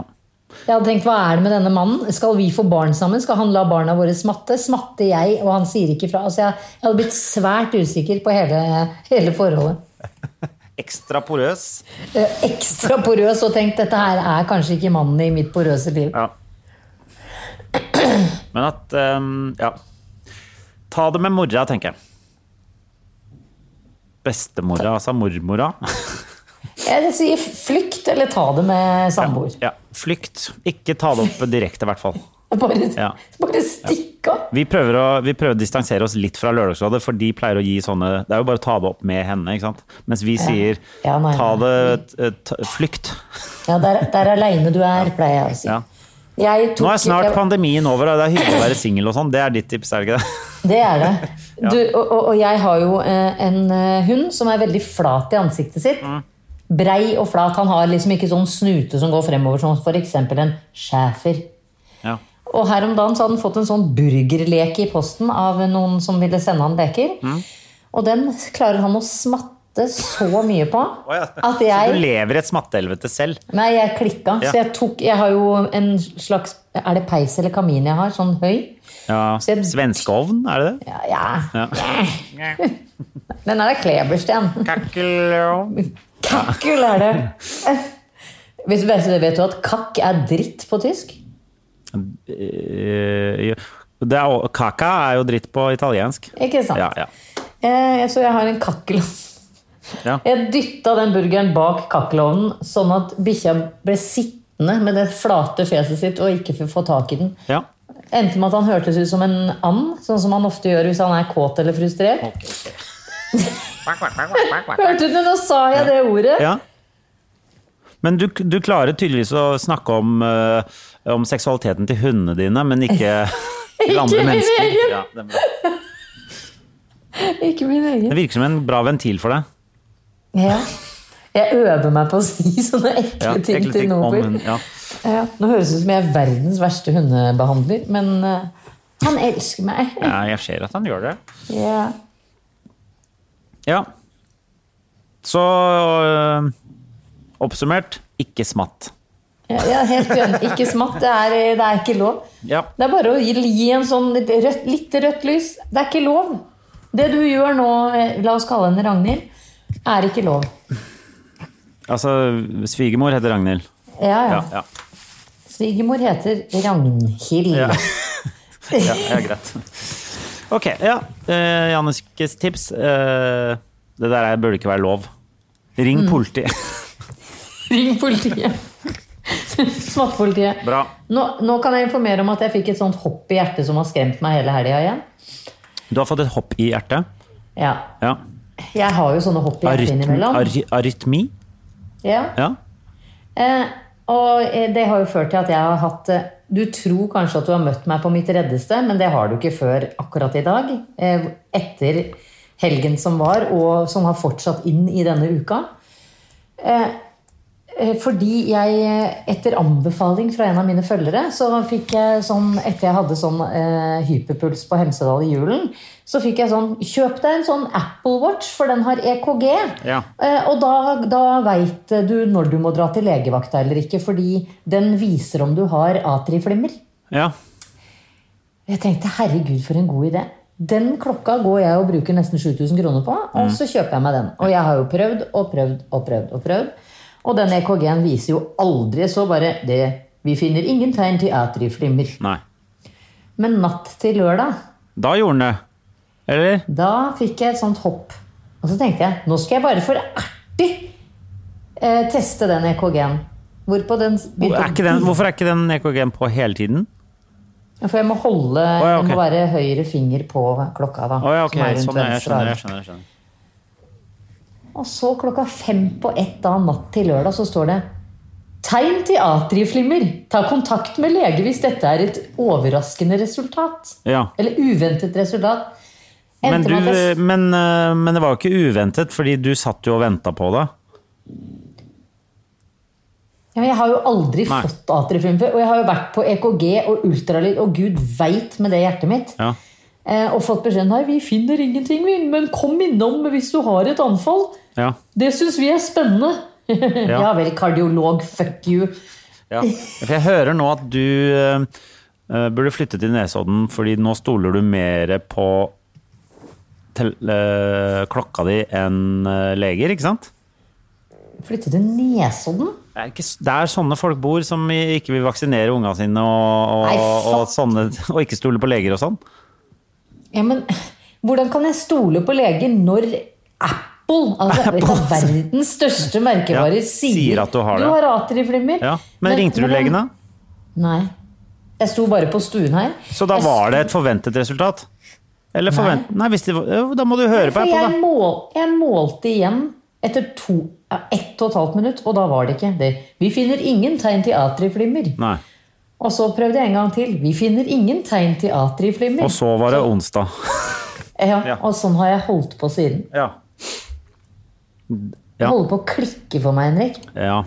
B: Jeg hadde tenkt, hva er det med denne mannen? Skal vi få barn sammen? Skal han la barna våre smatte? Smatter jeg, og han sier ikke fra? Altså, jeg, jeg hadde blitt svært usikker på hele, hele forholdet.
C: Ekstra porøs.
B: Eh, Ekstra porøs og tenkt, dette her er kanskje ikke mannen i mitt porøse liv.
C: Ja. Men at ehm, Ja. Ta det med mora, tenker jeg. Bestemora, altså mormora.
B: Jeg sier flykt, eller ta det med samboer.
C: Ja, flykt. Ikke ta det opp direkte, i hvert fall.
B: Bare,
C: Ja.
B: bare stikk ikke av.
C: Vi prøver, å, vi prøver å distansere oss litt fra Lørdagsrådet, for de pleier å gi sånne Det er jo bare å ta det opp med henne, ikke sant. Mens vi sier
B: Ja, nei,
C: ta det
B: nei.
C: eh, ta, Flykt.
B: Ja, der, der aleine du er, pleier jeg å si.
C: Ja.
B: Jeg tok,
C: Nå er snart
B: jeg-
C: pandemien over, og det er hyggelig å være singel og sånn. Det er ditt tips, er det ikke det?
B: Det er det. Du, og, og, og jeg har jo eh, en eh, hund som er veldig flat i ansiktet sitt.
C: Mm.
B: Brei og flat. Han har liksom ikke sånn snute som går fremover, som for eksempel en schæfer.
C: Ja.
B: Og her om dagen så hadde han fått en sånn burgerleke i posten av noen som ville sende han leker.
C: Mm.
B: Og den klarer han å smatte så mye på at
C: Så du
B: jeg
C: lever i et smattehelvete selv.
B: Nei, jeg klikka.
C: Ja.
B: Så jeg tok Jeg har jo en slags Er det peis eller kamin jeg har? Sånn høy?
C: Ja,
B: Så jeg-
C: Svenskeovn, er det det?
B: Ja. ja. Den er da klebersten.
C: Kakkelovn.
B: Kakkel er det. Vet, vet, vet du at kakk er dritt på tysk?
C: Eh, Det er, jo- kaka er jo dritt på italiensk.
B: Ikke sant?
C: Ja, ja.
B: Eh, så jeg har en kakkel.
C: Ja.
B: Jeg dytta den burgeren bak kakkelovnen, sånn at bikkja ble sittende med det flate fjeset sitt og ikke fikk få tak i den.
C: ja.
B: Endte med at han hørtes ut som en and, sånn som han ofte gjør hvis han er kåt eller frustrert. Hørte du det? Nå sa jeg det ordet.
C: ja. Men du, du klarer tydeligvis å snakke om, eh, om seksualiteten til hundene dine, men ikke til andre
B: min
C: mennesker.
B: egen.
C: Ja, det, er bra.
B: Ikke min egen.
C: det virker som en bra ventil for deg.
B: Ja. Jeg øver meg på å si sånne ekle
C: Ja,
B: ting
C: egentlig
B: til
C: ting om
B: Nobel.
C: hun- ja.
B: Ja. Nå høres det ut som jeg er verdens verste hundebehandler, men eh, han elsker meg.
C: ja, jeg ser at han gjør det.
B: Ja.
C: Ja. Så øh, oppsummert ikke smatt.
B: Ja, ja, helt enig. Ikke smatt. Det er, eh, det er ikke lov.
C: Ja.
B: Det er bare å gi, gi en sånn rødt, litt rødt lys. Det er ikke lov. Det du gjør nå, eh, la oss kalle henne Ragnhild, er ikke lov.
C: Altså, svigermor heter Ragnhild.
B: Ja, ja.
C: Ja, ja.
B: Svigermor heter Ragnhild.
C: Ja. ja, ja greit. Ok, ja. Eh, Jannikes tips. eh, det der er- burde ikke være lov. Ring
B: Mm.
C: politiet.
B: Ring politiet. Smattpolitiet.
C: Bra.
B: Nå, nå kan jeg informere om at jeg fikk et sånt hopp i hjertet som har skremt meg hele helga igjen.
C: Du har fått et hopp i hjertet.
B: Ja.
C: Ja.
B: Jeg har jo sånne hopp i hjertet
C: Arytm,
B: innimellom.
C: ary, arytmi.
B: Ja.
C: Ja.
B: Eh, og eh, det har jo ført til at jeg har hatt eh, Du tror kanskje at du har møtt meg på mitt reddeste, men det har du ikke før akkurat i dag. Eh, etter helgen som var, og som har fortsatt inn i denne uka. Eh, eh, fordi jeg, eh, etter anbefaling fra en av mine følgere, så fikk jeg sånn Etter jeg hadde sånn eh, hyperpuls på Hemsedal i julen, så fikk jeg sånn Kjøp deg en sånn Apple Watch, for den har EKG.
C: Ja.
B: Eh, Og da, da veit du når du må dra til legevakta eller ikke, fordi den viser om du har atriflimmer.
C: ja.
B: Jeg tenkte herregud, for en god idé. Den klokka går jeg og bruker nesten 7000 kroner på,
C: Mm.
B: og så kjøper jeg meg den. Og jeg har jo prøvd og prøvd og prøvd og prøvd. Og den EKG-en viser jo aldri så bare det Vi finner ingen tegn til atriflimmer.
C: Nei.
B: Men natt til lørdag
C: Da gjorde den det. Eller?
B: Da fikk jeg et sånt hopp. Og så tenkte jeg nå skal jeg bare for artig eh, teste den EKG-en. Hvorpå den s-
C: Hvor-
B: begynte
C: Er ikke den, hvorfor er ikke den EKG-en på hele tiden?
B: For jeg må holde
C: ja,
B: Jeg må
C: ok.
B: være høyre finger på klokka, da.
C: Å ja, ok.
B: som er rundt
C: Sånn, ja, jeg
B: venstre
C: skjønner.
B: arm.
C: Jeg skjønner, jeg skjønner.
B: Og så klokka fem på ett da natt til lørdag så står det Tegn til atrieflimmer. Ta kontakt med lege hvis dette er et overraskende resultat.
C: Ja.
B: Eller uventet resultat.
C: Men,
B: Endte
C: du,
B: med at jeg-
C: men, eh, men det var jo ikke uventet, fordi du satt jo og venta på det.
B: Ja, men jeg har jo aldri
C: Nei.
B: fått atrieflimmer før. Og jeg har jo vært på EKG og ultralyd, og gud veit med det hjertet mitt.
C: Ja.
B: Eh, og fått beskjed nei, vi finner ingenting, vi, men kom innom hvis du har et anfall.
C: Ja.
B: Det syns vi er spennende. ja. vel, kardiolog, fuck you.
C: Ja. For jeg hører nå at du eh, eh, burde flytte til Nesodden, fordi nå stoler du mer på tel eh, klokka di enn eh, leger, ikke sant?
B: Flytte til Nesodden?
C: Det er, ikke, s- det er sånne folk bor som i- ikke vil vaksinere unga sine og,
B: Nei,
C: og,
B: fuck.
C: og, sånne, og ikke stole på leger og sånn.
B: Ja, men hvordan kan jeg stole på leger når Apple, altså
C: Apple.
B: et av verdens største merkevarer,
C: Ja,
B: sier,
C: sier at du har det.
B: Du har atriflimmer.
C: Ja. Men, ringte du legen, da?
B: Nei. Jeg sto bare på stuen her.
C: Så da
B: Jeg
C: var det et forventet resultat? Eller forvent... Nei, hvis det var... jo, da må du høre på
B: For jeg,
C: Apple, da.
B: mål, jeg målte igjen etter to, ja, ett og et halvt minutt, og da var det ikke det. Vi finner ingen tegn til atrieflimmer.
C: Nei.
B: Og så prøvde jeg en gang til. Vi finner ingen tegn til atrieflimmer.
C: Og så var det onsdag.
B: ja,
C: ja.
B: og sånn har jeg holdt på siden.
C: Ja. Ja.
B: Det holder på å klikke for meg, Henrik.
C: ja.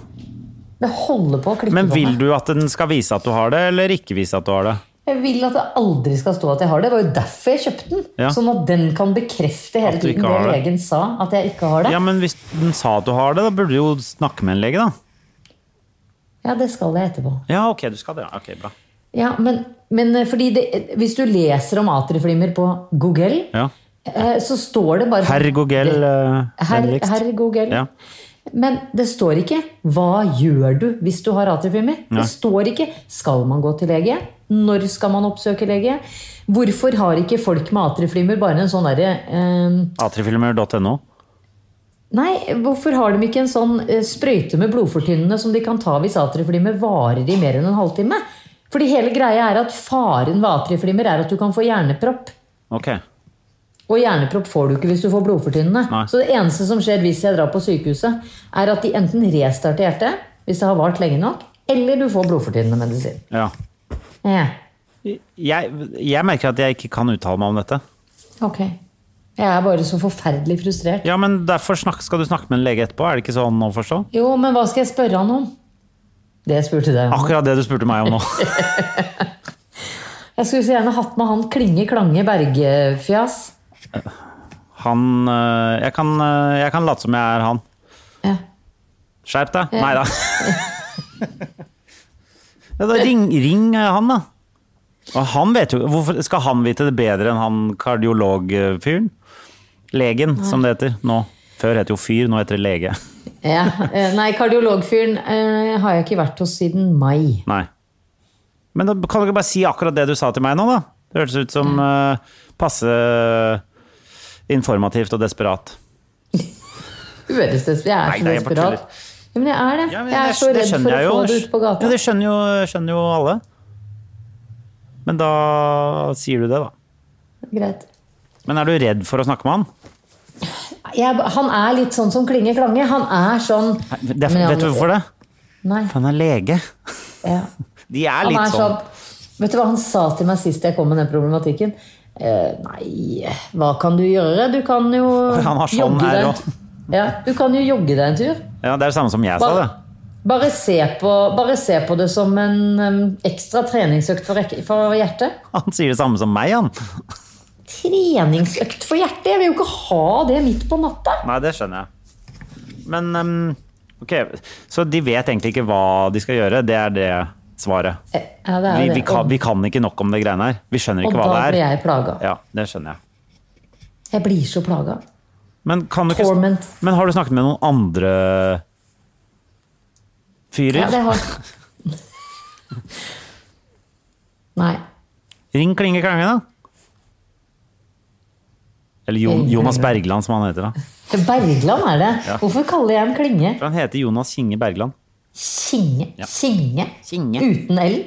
B: Det holder på å klikke
C: Men
B: for
C: vil
B: meg.
C: du at den skal vise at du har det, eller ikke vise at du har det?
B: Jeg vil at det aldri skal stå at jeg har det. Det var jo derfor jeg kjøpte den.
C: Ja.
B: Sånn at den kan bekrefte hele
C: At du ikke
B: tiden det
C: har det.
B: legen sa at jeg ikke har det.
C: Ja, men hvis den sa at du har det, da burde du jo snakke med en lege, da.
B: ja det skal jeg etterpå.
C: Ja, ok, du skal det. Ja, ok, bra.
B: Ja, men, men eh, fordi det, hvis du leser om atrieflimmer på Google,
C: Ja.
B: eh, så står det bare
C: Herr Gogel, eh,
B: Herr,
C: vennligst.
B: herr Google.
C: Ja.
B: Men det står ikke 'hva gjør du hvis du har atrieflimmer'?
C: Nei.
B: Det står ikke 'skal man gå til lege'? Når skal man oppsøke lege? Hvorfor har ikke folk med atrieflimmer bare en sånn derre eh,
C: Atrifilmer.no.
B: Nei, hvorfor har de ikke en sånn eh, sprøyte med blodfortynnende som de kan ta hvis atrieflimmer varer i mer enn en halvtime? Fordi hele greia er at faren ved atrieflimmer er at du kan få hjernepropp.
C: Ok.
B: Og hjernepropp får du ikke hvis du får blodfortynnende.
C: Nei.
B: Så det eneste som skjer hvis jeg drar på sykehuset, er at de enten restarter hjertet, hvis det har vart lenge nok, eller du får blodfortynnende medisin.
C: Ja.
B: Ja.
C: Jeg, jeg merker at jeg ikke kan uttale meg om dette.
B: Ok. Jeg er bare så forferdelig frustrert.
C: Ja, men derfor snakk, skal du snakke med en lege etterpå. Er det ikke sånn å forstå?
B: Jo, men hva skal jeg spørre han om? Det jeg spurte deg om.
C: Akkurat det du spurte meg om nå.
B: Jeg skulle så gjerne hatt med han Klinge Klange Bergefjas.
C: Han øh, Jeg kan, øh, jeg kan late som jeg er han.
B: Ja.
C: Skjerp deg! Nei da. Ja, da ring, ring øh, han, da. Og han vet jo Hvorfor skal han vite det bedre enn han kardiologfyren? Legen, som det heter nå. Før het jo fyr, nå heter det lege.
B: Ja. eh, Nei, kardiologfyren eh, har jeg ikke vært hos siden mai.
C: Nei. Men da kan du ikke bare si akkurat det du sa til meg nå, da? Det hørtes ut som eh, passe eh, informativt og desperat.
B: Du høres des- Jeg er
C: Nei,
B: så
C: nei, jeg bare
B: desperat. Ja, men jeg er det.
C: Ja, men
B: jeg er
C: det-
B: så
C: det
B: redd
C: skjønner
B: for å
C: jeg jo.
B: få det ut på
C: Ja,
B: gata.
C: det skjønner jo, skjønner jo alle. Men da sier du det, da.
B: Greit.
C: Men er du redd for å snakke med han?
B: Jeg, han er litt sånn som Klinge Klange. Han er sånn
C: Det, er- vet du hvorfor det?
B: Nei.
C: For han er lege.
B: Ja.
C: De er
B: Han
C: litt
B: er sånn
C: sånn.
B: Vet du hva han sa til meg sist jeg kom med den problematikken? Eh, nei, hva kan du gjøre? Du kan jo
C: Han har sånn
B: jogge
C: her
B: deg en
C: også.
B: tur. Ja, du kan jo jogge deg en tur.
C: Ja, det er det samme som jeg sa,
B: Bare,
C: det.
B: bare, se, på, bare se på det som en em, ekstra treningsøkt for, rek- for hjertet.
C: Han sier det samme som meg, han.
B: Treningsøkt for hjertet? Jeg vil jo ikke ha det midt på natta.
C: Nei, det skjønner jeg. Men ehm, ok, så de vet egentlig ikke hva de skal gjøre. Det er det svaret.
B: Eh, Ja, det er
C: Vi,
B: det.
C: vi, kan,
B: Og-
C: vi kan ikke nok om det greiene her. Vi skjønner
B: Og
C: ikke
B: da
C: hva
B: blir
C: det er.
B: jeg plaga.
C: Ja, det skjønner jeg.
B: Jeg blir så plaga.
C: Men, kan du ikke,
B: Torment.
C: men har du snakket med noen andre fyrer?
B: Ja, det har Nei.
C: Ring Klinge Klange, da. Eller jo,
B: Ring Klinge.
C: Jonas Bergland, som han heter. da.
B: Bergland er det. Hvorfor kaller jeg den Klinge?
C: For han heter Jonas Kinge Bergland.
B: Kinge. Kinge.
C: Kinge.
B: Uten L.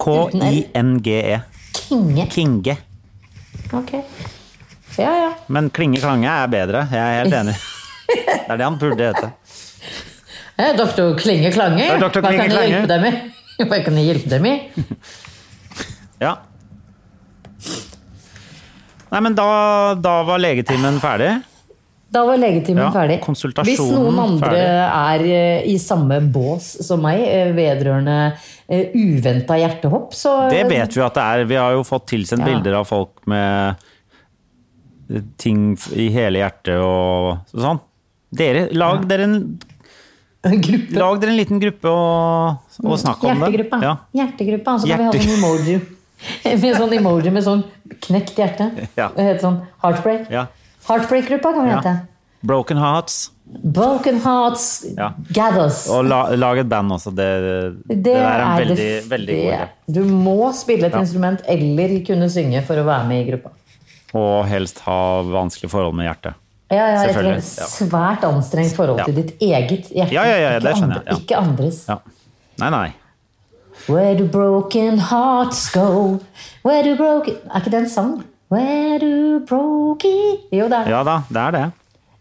C: K-i-n-g-e.
B: Kinge.
C: E. Kinge.
B: Ok. Ja, ja.
C: Men Klinge Klange er bedre. Jeg er helt enig. Det er det han burde hete.
B: Jeg er Eh, doktor Klinge Klange.
C: er doktor
B: Hva
C: Klinge
B: kan jeg
C: Klange.
B: hjelpe deg med? Hva kan jeg hjelpe deg med?
C: Ja. Nei, men da, da var legetimen ferdig.
B: Da var legetimen
C: Ja,
B: ferdig.
C: konsultasjonen
B: Hvis noen andre er
C: ferdig.
B: eh, i samme bås som meg eh, vedrørende uventa hjertehopp, så
C: Det vet vi at det er. Vi har jo fått tilsendt
B: Ja.
C: bilder av folk med ting f- i hele hjertet og sånn. Dere, lag, dere en,
B: eh, Gruppe.
C: lag dere en liten gruppe og, og snakk om det.
B: Hjertegruppa.
C: Ja.
B: Hjertegruppa. Så kan vi ha
C: Hjerte-
B: sånn emoji. Med sånn emoji med sånn knekt hjerte.
C: Ja.
B: Det heter sånn heartbreak.
C: Ja.
B: Heartbreak-gruppa kan vi
C: Ja.
B: hete.
C: Broken Hearts.
B: Broken Hearts
C: Ja.
B: Gathers.
C: Og la, lag et band også. Det, det, der er
B: det
C: en veldig,
B: f-
C: veldig god idé.
B: det- Du må spille et instrument eller kunne synge for å være med i gruppa.
C: Og helst ha vanskelige forhold med hjertet.
B: Ja, ja, jeg tror
C: Selvfølgelig,
B: det er et svært anstrengt forhold
C: Ja.
B: til ditt eget hjerte.
C: Ja, ja, ja,
B: ikke,
C: det skjønner
B: andre-
C: jeg, ja.
B: ikke andres.
C: Ja. Nei, nei.
B: Where do broken hearts go? Where do broken Er ikke det en sang? Where do broken Jo, det er det.
C: Ja da, det er det.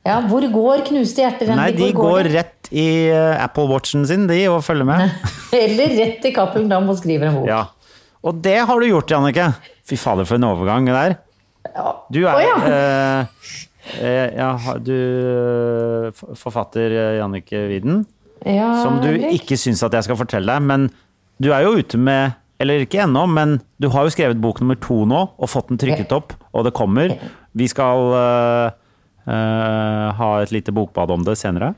B: Ja, hvor går knuste hjerter? hen?
C: Nei, de
B: Hvor
C: går rett i eh, Apple Watchen sin, de, og følger med.
B: Eller rett til Cappelen Dam og skriver en bok.
C: Ja. Og det har du gjort, Jannicke. Fy fader, for en overgang det der. Du er
B: Å, ja.
C: eh, eh, ja, ha- du eh, f- Forfatter eh, Jannicke Widen.
B: Ja,
C: Som du
B: eller?
C: ikke syns at jeg skal fortelle deg, men du er jo ute med Eller ikke ennå, men du har jo skrevet bok nummer to nå, og fått den trykket opp, og det kommer. Vi skal eh, eh, ha et lite bokbad om det senere.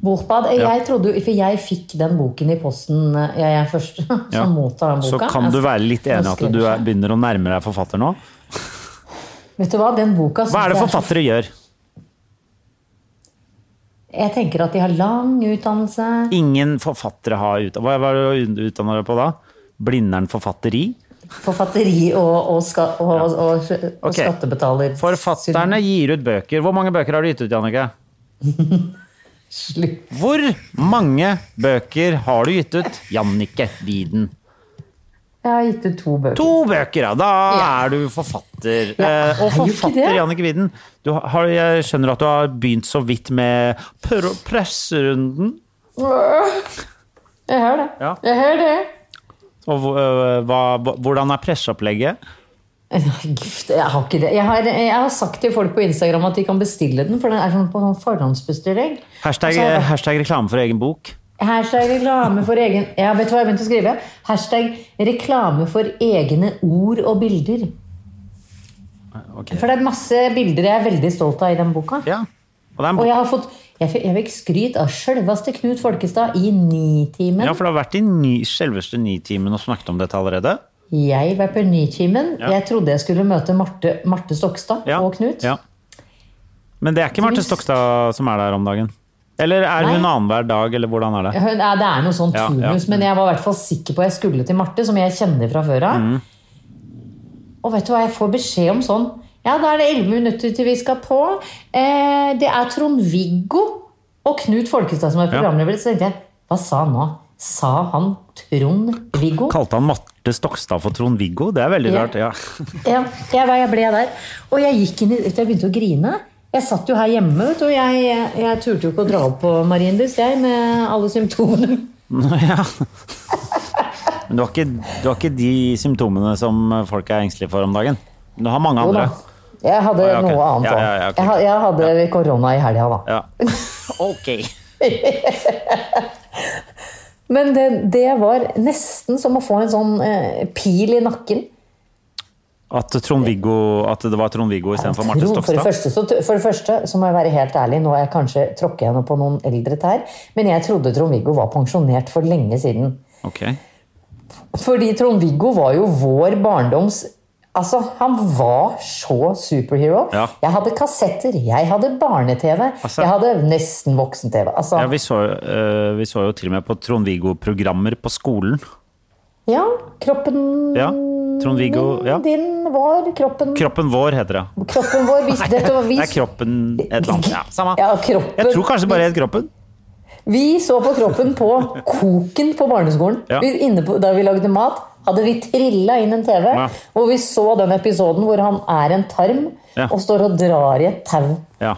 B: Bokbad. Jeg trodde jo, For jeg fikk den boken i posten, eh, jeg er først som
C: Ja.
B: mottar den
C: Så
B: boka.
C: kan du være litt
B: Jeg
C: enig i at
B: skriver
C: du er,
B: seg.
C: begynner å nærme deg forfatter nå.
B: Vet du hva, den boka
C: Hva er
B: synes jeg
C: det
B: så
C: forfattere gjør?
B: Jeg tenker at de har lang utdannelse.
C: Ingen forfattere har utdannet Hva hva er det du utdanna deg på da? Blindern forfatteri?
B: Forfatteri og, og, ska, og, og, og,
C: Ok.
B: skattebetaler.
C: Forfatterne gir ut bøker. Hvor mange bøker har du gitt ut, Jannicke?
B: Slutt.
C: Hvor mange bøker har du gitt ut? Jannicke Widen.
B: Jeg har gitt ut to bøker.
C: To bøker, ja! Da
B: Ja.
C: er du forfatter.
B: Ja,
C: eh, og
B: er jo ikke
C: forfatter
B: det.
C: Jannicke Widen. Du har, jeg skjønner at du har begynt så vidt med pr- presserunden.
B: Jeg hører det.
C: Ja.
B: Jeg hører det.
C: Og hvor- øh, hva, hvordan er presseopplegget?
B: Nei, Gift, jeg har ikke det. Jeg har, jeg har sagt til folk på Instagram at de kan bestille den, for den er sånn på sånn forhåndsbestilling.
C: Hashtag, eh,
B: Og så er det-
C: hashtag reklame for egen bok.
B: Hashtag reklame for egen Ja, vet du hva jeg begynte å skrive? Hashtag reklame for egne ord og bilder.
C: Ok.
B: For det er masse bilder jeg er veldig stolt av i den boka.
C: Ja. Og det er
B: Og
C: en bok.
B: jeg har fått Jeg, fikk- jeg fikk skryt av sjølveste Knut Folkestad i Nitimen.
C: Ja, for det har vært i ni, selveste Nitimen og snakket om dette allerede.
B: Jeg var på Nitimen. Jeg trodde jeg skulle møte Marte, Marte Stokstad
C: Ja.
B: og Knut.
C: Ja. Men det er ikke Marte Stokstad som er der om dagen? Eller er hun
B: Nei.
C: annenhver dag, eller hvordan er det?
B: Hun, ja, det er noe sånn
C: Ja,
B: turnus,
C: ja.
B: men jeg var i hvert fall sikker på jeg skulle til Marte, som jeg kjenner fra før av.
C: Mm.
B: Og vet du hva jeg får beskjed om sånn? Ja, da er det 11 minutter til vi skal på. Eh, det er Trond-Viggo og Knut Folkestad som er programleder. Så tenkte jeg, hva sa han nå? Sa han Trond-Viggo?
C: Kalte han Marte Stokstad for Trond-Viggo? Det er veldig
B: Ja.
C: rart. Ja.
B: Ja, jeg, var, jeg ble der. Og jeg gikk inn i Jeg begynte å grine. Jeg satt jo her hjemme, vet du, og jeg, jeg, jeg turte jo ikke å dra opp på Marienlyst, jeg, med alle symptomene.
C: ja. Men du har, ikke, du har ikke de symptomene som folk er engstelige for om dagen? Du har mange
B: Jo da.
C: andre.
B: Jeg hadde
C: Å, ja, ok.
B: noe annet
C: Ja,
B: òg.
C: ja, ja, ok.
B: jeg, ha- jeg hadde korona i helga, da.
C: Ja. Ok.
B: Men det, det var nesten som å få en sånn eh, pil i nakken.
C: At, Trond-Viggo, at det var Trond-Viggo istedenfor Marte
B: Tro- For det,
C: Stokstad?
B: første, så, for det første så må jeg være helt ærlig, nå er jeg kanskje tråkker jeg nå på noen eldre tær, men jeg trodde Trond-Viggo var pensjonert for lenge siden.
C: Ok.
B: Fordi Trond-Viggo var jo vår barndoms Altså, han var så superhero.
C: Ja.
B: Jeg hadde kassetter, jeg hadde barne-TV,
C: Altså-
B: jeg hadde nesten voksen-TV. Altså,
C: Ja, vi, så, øh, vi så jo til og med på Trond-Viggo-programmer på skolen.
B: ja, kroppen
C: Ja. Trond-Viggo
B: Mm,
C: ja.
B: din var kroppen
C: Kroppen vår heter det.
B: Kroppen vår vis, dette var,
C: Det
B: vi,
C: er kroppen et eller annet. Ja, samme.
B: Ja, kroppen.
C: Jeg tror kanskje det bare het Kroppen.
B: vi så på kroppen på Koken på barneskolen.
C: Ja.
B: Vi, inne på, da vi lagde mat, hadde vi trilla inn en TV
C: Ja.
B: hvor vi så den episoden hvor han er en tarm
C: Ja.
B: og står og drar i et tau.
C: Ja,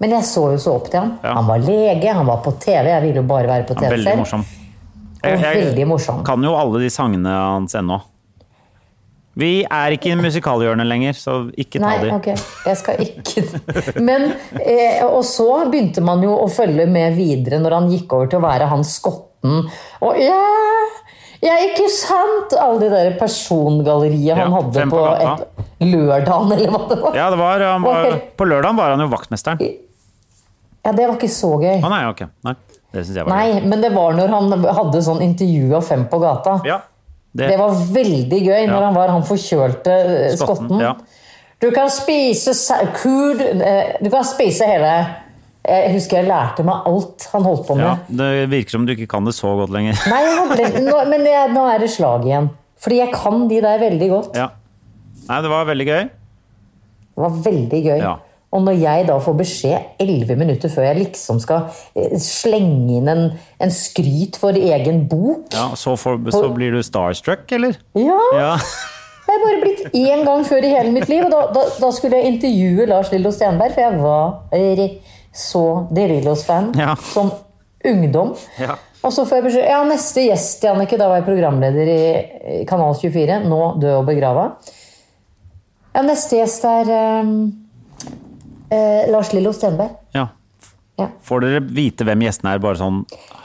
B: Men jeg så jo så opp til han.
C: Ja.
B: Han var lege, han var på TV. Jeg ville jo bare være på TV
C: Veldig
B: selv.
C: morsom.
B: Og veldig morsom.
C: kan jo alle de sangene hans ennå. Vi er ikke i musikalhjørnet lenger, så ikke ta
B: Nei,
C: de.
B: ok. Jeg skal ikke Men, eh, Og så begynte man jo å følge med videre når han gikk over til å være han skotten. Og ja, ja ikke sant? Alle de der persongalleriet han
C: Ja,
B: hadde
C: fem på
B: på,
C: gata.
B: et, lørdagen, eller hva det var.
C: Ja, det var, han var,
B: Ok.
C: på lørdagen var han jo vaktmesteren.
B: Ja, det var ikke så gøy.
C: Å nei, ok. Nei, det syns jeg var gøy.
B: Nei, men det var når han hadde sånn intervju av Fem på gata.
C: Ja, det,
B: Det var veldig gøy når
C: Ja.
B: han var han forkjølte eh,
C: Skotten,
B: skotten.
C: ja.
B: Du kan spise sa- kud eh, Du kan spise hele eh, Jeg husker jeg lærte meg alt han holdt på med.
C: ja, det virker som du ikke kan det så godt lenger.
B: Nei, jeg har glemt- nå, men jeg, nå er det slag igjen. Fordi jeg kan de der veldig godt.
C: Ja. Nei, det var veldig gøy.
B: Det var veldig gøy.
C: Ja.
B: Og når jeg da får beskjed elleve minutter før jeg liksom skal eh, slenge inn en, en skryt for egen bok
C: Ja, så, får, så blir du starstruck, eller?
B: Ja!
C: Ja.
B: Jeg har bare blitt én gang før i hele mitt liv, og da, da, da skulle jeg intervjue Lars Lillo Stenberg, for jeg var eh, så De Lillos-fan
C: Ja.
B: som ungdom.
C: Ja.
B: Og så får jeg beskjed Ja, neste gjest, Jannicke, da var jeg programleder i i Kanal 24, nå død og begrava. Ja, neste gjest er eh, eh, Lars Lillo Stenberg.
C: ja.
B: Ja.
C: Får dere vite hvem gjestene er bare sånn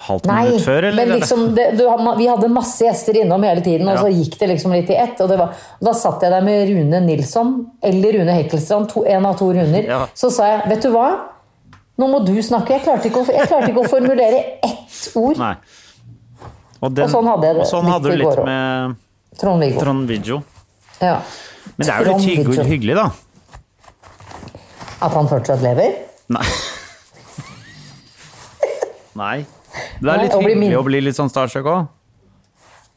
C: halvt
B: Nei,
C: minutt før, eller?
B: men liksom, det, du, hadde- vi hadde masse gjester innom hele tiden, og
C: Ja.
B: så gikk det liksom litt i ett. Og, det var, og da satt jeg der med Rune Nilsson eller Rune Hekkelstrand, to, en av to runder.
C: Ja.
B: Så sa jeg, vet du hva? Nå må du snakke. Jeg klarte ikke å, jeg klarte ikke å formulere ett ord.
C: Nei. Og, den,
B: Og sånn hadde jeg det
C: og sånn
B: litt
C: hadde
B: i
C: du litt
B: går også.
C: med
B: Trond-Viggo.
C: Trond-Viggo.
B: Ja.
C: Men det er jo litt
B: Trond-Viggo.
C: hyggelig, hyggelig da.
B: At han fortsatt lever.
C: Nei. Nei. Det er
B: Nei,
C: litt
B: å bli
C: hyggelig
B: min-
C: å bli litt sånn starstruck òg.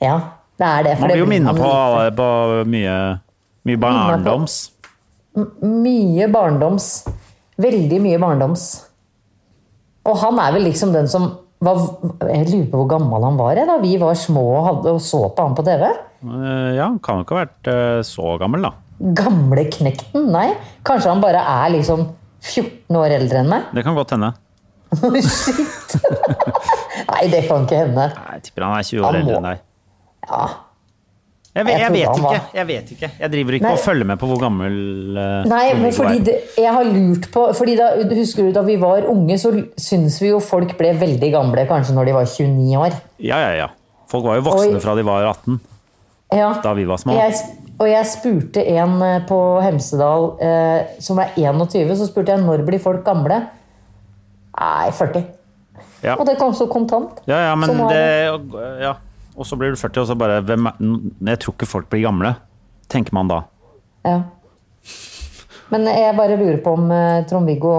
B: Ja, det er det. for
C: Man
B: det
C: blir jo minnet på,
B: man
C: på mye, mye
B: Minnet på-
C: barndoms.
B: Mye barndoms. Veldig mye barndoms. Og han er vel liksom den som var, Jeg lurer på hvor gammel han var jeg, da vi var små og, hadde, og så på han på TV.
C: Eh, Ja, han kan jo ikke ha vært eh, så gammel, da.
B: Gamle knekten? Nei. Kanskje han bare er liksom 14 år eldre enn meg?
C: Det kan godt hende.
B: Shit! Nei, det kan ikke hende.
C: Nei, Jeg tipper han er 20 år
B: Han må-
C: eldre enn deg.
B: Ja.
C: Jeg, vet-
B: Jeg
C: jeg,
B: trodde
C: vet
B: han
C: ikke,
B: var-
C: jeg vet ikke. Jeg driver ikke
B: Nei.
C: og følger med på hvor gammel eh,
B: Nei, men
C: Trond-Viggo
B: fordi
C: er.
B: det, jeg har lurt på fordi da, Husker du da vi var unge, så syns vi jo folk ble veldig gamle kanskje når de var 29 år.
C: Ja, ja, ja. Folk var jo voksne
B: Oi.
C: fra de var 18.
B: Ja.
C: Da vi var små.
B: Jeg, og jeg spurte en eh, på Hemsedal eh, som er 21, så spurte jeg når blir folk gamle? Nei, 40.
C: Ja.
B: Og det kom så kontant.
C: Ja, ja, men
B: Sånn var
C: det ja. Og så blir du 40, og så bare hvem er, Jeg tror ikke folk blir gamle, tenker man da.
B: Ja. Men jeg bare lurer på om eh, Trond-Viggo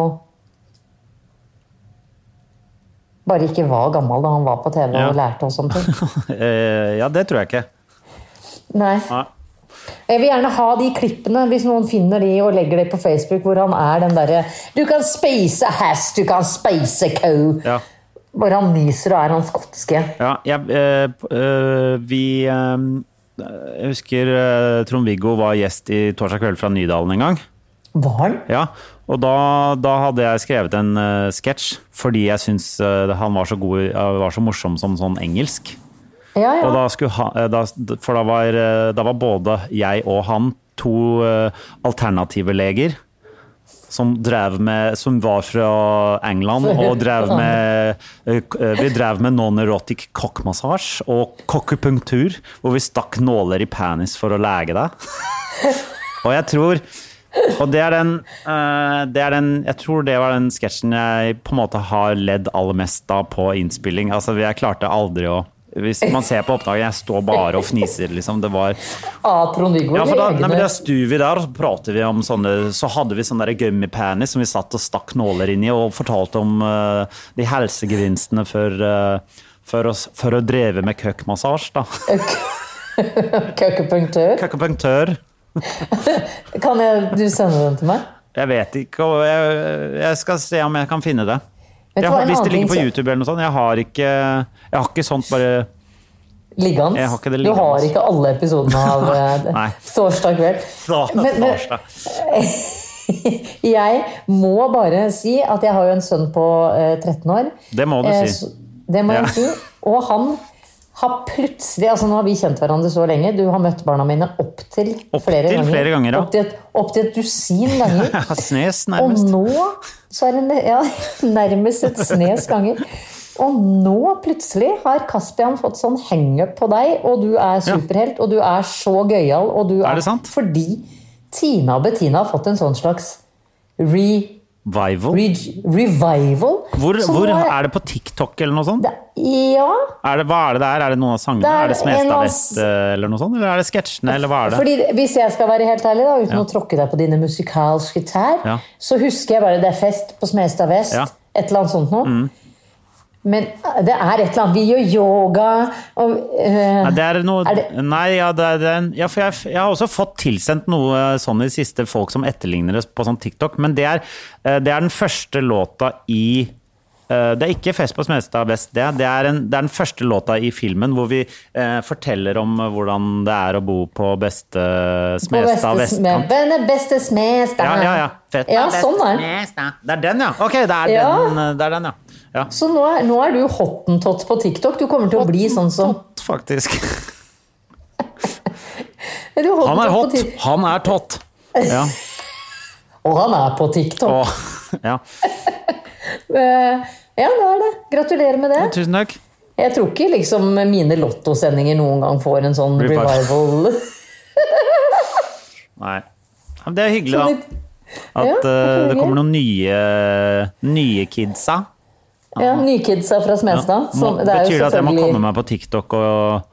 B: bare ikke var gammel da han var på TV
C: Ja.
B: og lærte oss om ting.
C: Eh, ja, det tror jeg ikke.
B: Nei.
C: Nei.
B: Jeg vil gjerne ha de klippene, hvis noen finner de og legger det på Facebook, hvor han er den derre Du kan spise hest, du kan spise cow.
C: Ja.
B: Hvor han nyser og er han skotske.
C: ja jeg, eh, p- eh, vi eh, Jeg husker eh, Trond-Viggo var gjest i Torsdag kveld fra Nydalen en gang.
B: Var han?
C: Ja, og da, da hadde jeg skrevet en eh, sketsj fordi jeg syns eh, han var så, god, i- eh, var så morsom som sånn engelsk.
B: Ja, ja.
C: Og da skulle han, eh, da, for da var, eh, da var både jeg og han to eh, alternative leger som, drev med, som var fra England og drev med, eh, k- eh, vi drev med non-erotic kokkmassasje og kokkepunktur, hvor vi stakk nåler i penis for å lege deg. Og jeg tror Og det er den, eh, det er den Jeg tror det var den sketsjen jeg på en måte har ledd aller mest da på innspilling. Altså, jeg klarte aldri å Hvis man ser på oppdraget, jeg står bare og fniser, liksom. Det var
B: Av Trond-Viggo?
C: ja, for da,
B: eller egne?
C: nei, men da stuer vi der, og så prater vi om sånne Så hadde vi sånne der gummipenis som vi satt og stakk nåler inn i, og fortalte om eh, de helsegevinstene for, eh, for, oss, for å dreve med køkkmassasje, da.
B: Køkkepunktør?
C: Køkkepunktør.
B: Kan jeg, du sende den til meg?
C: Jeg vet ikke, og jeg, jeg skal se om jeg kan finne det.
B: Vet du
C: Jeg
B: hva,
C: har,
B: en
C: hvis
B: annen
C: det ligger på
B: ting som-
C: YouTube eller noe sånt. Jeg har ikke, jeg har ikke sånt bare
B: Liggende?
C: Jeg har ikke det
B: Du har
C: liggende.
B: ikke alle episodene av eh,
C: Nei.
B: Torsdag kveld?
C: da,
B: Men- men-
C: torsdag.
B: jeg må bare si at jeg har jo en sønn på eh, 13 år.
C: Det må du
B: Eh,
C: si.
B: så- Det må
C: Ja.
B: jeg si. Og han har plutselig altså Nå har vi kjent hverandre så lenge. Du har møtt barna mine opptil
C: Opp
B: flere
C: til
B: ganger.
C: flere ganger, ja.
B: Opptil et, opp til et dusin ganger.
C: Jeg har snes,
B: Og
C: nærmest.
B: nå så er det ne- ja, nærmest et snes ganger. Og nå plutselig har Kaspian fått sånn hangup på deg, og du er superhelt, og du er så gøyal, og du
C: Er det sant?
B: Fordi Tina og Bettina har fått en sånn slags re,
C: Vival.
B: re, revival.
C: Hvor,
B: Så nå
C: hvor er det på TikTok eller noe sånt?
B: Ja,
C: Er det, hva er det der? Er det noen av sangene?
B: Det er
C: Er det
B: en av-
C: Smestadvett eh, eller noe sånt? Eller er det sketsjene, eller hva er det?
B: fordi hvis jeg skal være helt ærlig, da, uten å tråkke deg på dine musikalske tær,
C: Ja.
B: så husker jeg bare det er fest på Smestad Vest,
C: Ja. Mm.
B: et eller annet sånt noe. Men eh, det er et eller annet Vi gjør yoga og eh,
C: Nei, det er noe
B: Er det-
C: Nei, ja, det er, det er, en- ja for jeg, jeg har også fått tilsendt noe sånn i det siste, folk som etterligner det på sånn TikTok, men det er, eh, det er den første låta i eh, det er ikke Fest på Smestad Vest, det. Det er, en, det er den første låta i filmen hvor vi eh, forteller om hvordan det er å bo på beste
B: på
C: Smestad
B: beste
C: vestkant.
B: smed- Venne beste smestad.
C: Ja, ja, ja. Fett.
B: Ja, sånn er det.
C: Det er den, ja! Ok, det er,
B: Ja.
C: den, eh, det er den, ja. ja.
B: Så nå er, nå er du hottentott på TikTok. Du kommer til å bli sånn som
C: Tott, faktisk.
B: Er du
C: Han er
B: hottentott på
C: hot!
B: Tik-
C: Han er tott! Ja.
B: Og han er på TikTok.
C: Og, ja.
B: Eh, ja, det er det. Gratulerer med det.
C: Tusen takk.
B: Jeg tror ikke liksom mine lottosendinger noen gang får en sånn
C: Blir bare-
B: revival.
C: Nei. Ja, men Det er hyggelig, da.
B: Ja,
C: At eh, det
B: hyggelig.
C: kommer noen nye, nye kidsa.
B: Ja, Nykidsa fra
C: Ja.
B: Smestad.
C: Må,
B: som- det er jo
C: betyr det at jeg må
B: selvfølgelig-
C: komme meg på TikTok og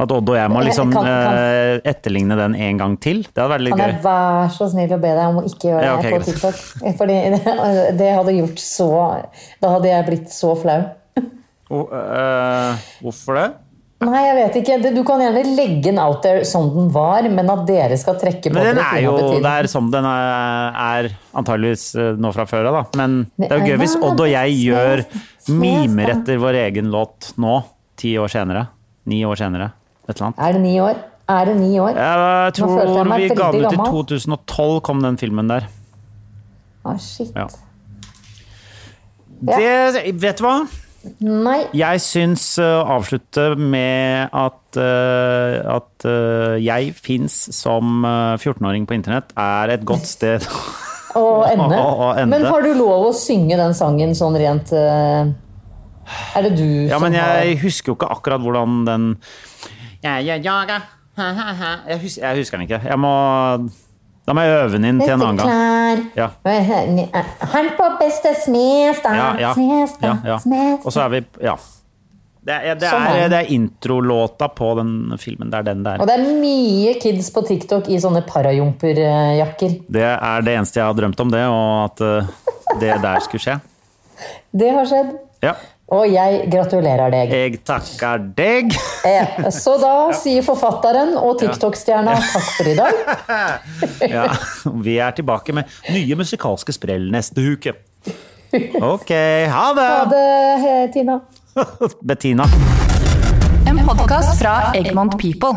C: At Odd og jeg må
B: Jeg
C: liksom
B: kan- kan-
C: eh, etterligne den en gang til? Det hadde vært litt
B: Kan
C: gøy.
B: jeg vær så snill å be deg om å ikke gjøre
C: Ja, ok,
B: det på
C: greit.
B: TikTok? Fordi det- det hadde gjort så Da hadde jeg blitt så flau.
C: Og, eh, hvorfor det?
B: Nei, jeg vet ikke. Det- Du kan gjerne legge den out there som den var, men at dere skal trekke på
C: Men den
B: dere
C: er
B: ting
C: jo
B: av betydning.
C: der som den er, er antageligvis eh, nå fra før av, da. Men det er jo
B: Det
C: gøy
B: er
C: hvis Odd og jeg gjør
B: verdens beste.
C: mimer etter vår egen låt nå, ti år senere. Ni år senere. Et eller annet.
B: Er det ni år? Er det ni år?
C: Jeg eh,
B: Nå følte jeg
C: tror
B: meg
C: vi ga den ut
B: veldig
C: i
B: gammel.
C: 2012, kom den filmen der.
B: Ah, shit.
C: Ja.
B: Ja.
C: Det, vet du hva?
B: Nei.
C: Jeg syns eh, å avslutte med at, eh, at eh, jeg fins som eh, 14-åring på internett, er et godt sted
B: Å ende.
C: Å ende.
B: Men har du lov å synge den sangen sånn rent eh, Er det du
C: Ja,
B: som
C: men
B: har
C: jeg husker jo ikke akkurat hvordan den Jeg gjør yoga. Jeg husker, jeg husker den ikke. Jeg må, da må jeg øve den inn til en annen gang.
B: Dette
C: Ja.
B: klær Han eh, på beste smestad,
C: Ja, ja.
B: smestad,
C: ja, ja.
B: smestad.
C: Og så er vi Ja. Det er, det
B: Sånn er
C: er,
B: den.
C: det er introlåta på den filmen. Det er den der.
B: Og det er mye kids på TikTok i sånne parajumperjakker.
C: Det er det eneste jeg har drømt om, det, og at eh, det der skulle skje.
B: Det har skjedd.
C: Ja.
B: Og jeg gratulerer deg.
C: Jeg takker deg.
B: Eh, Så da sier forfatteren og TikTok-stjerna takk for i dag.
C: Ja, vi er tilbake med nye musikalske sprell neste uke. Ok, ha det!
B: Ha det, eh, Tina.
C: Bettina.
D: En podkast fra Egmont People.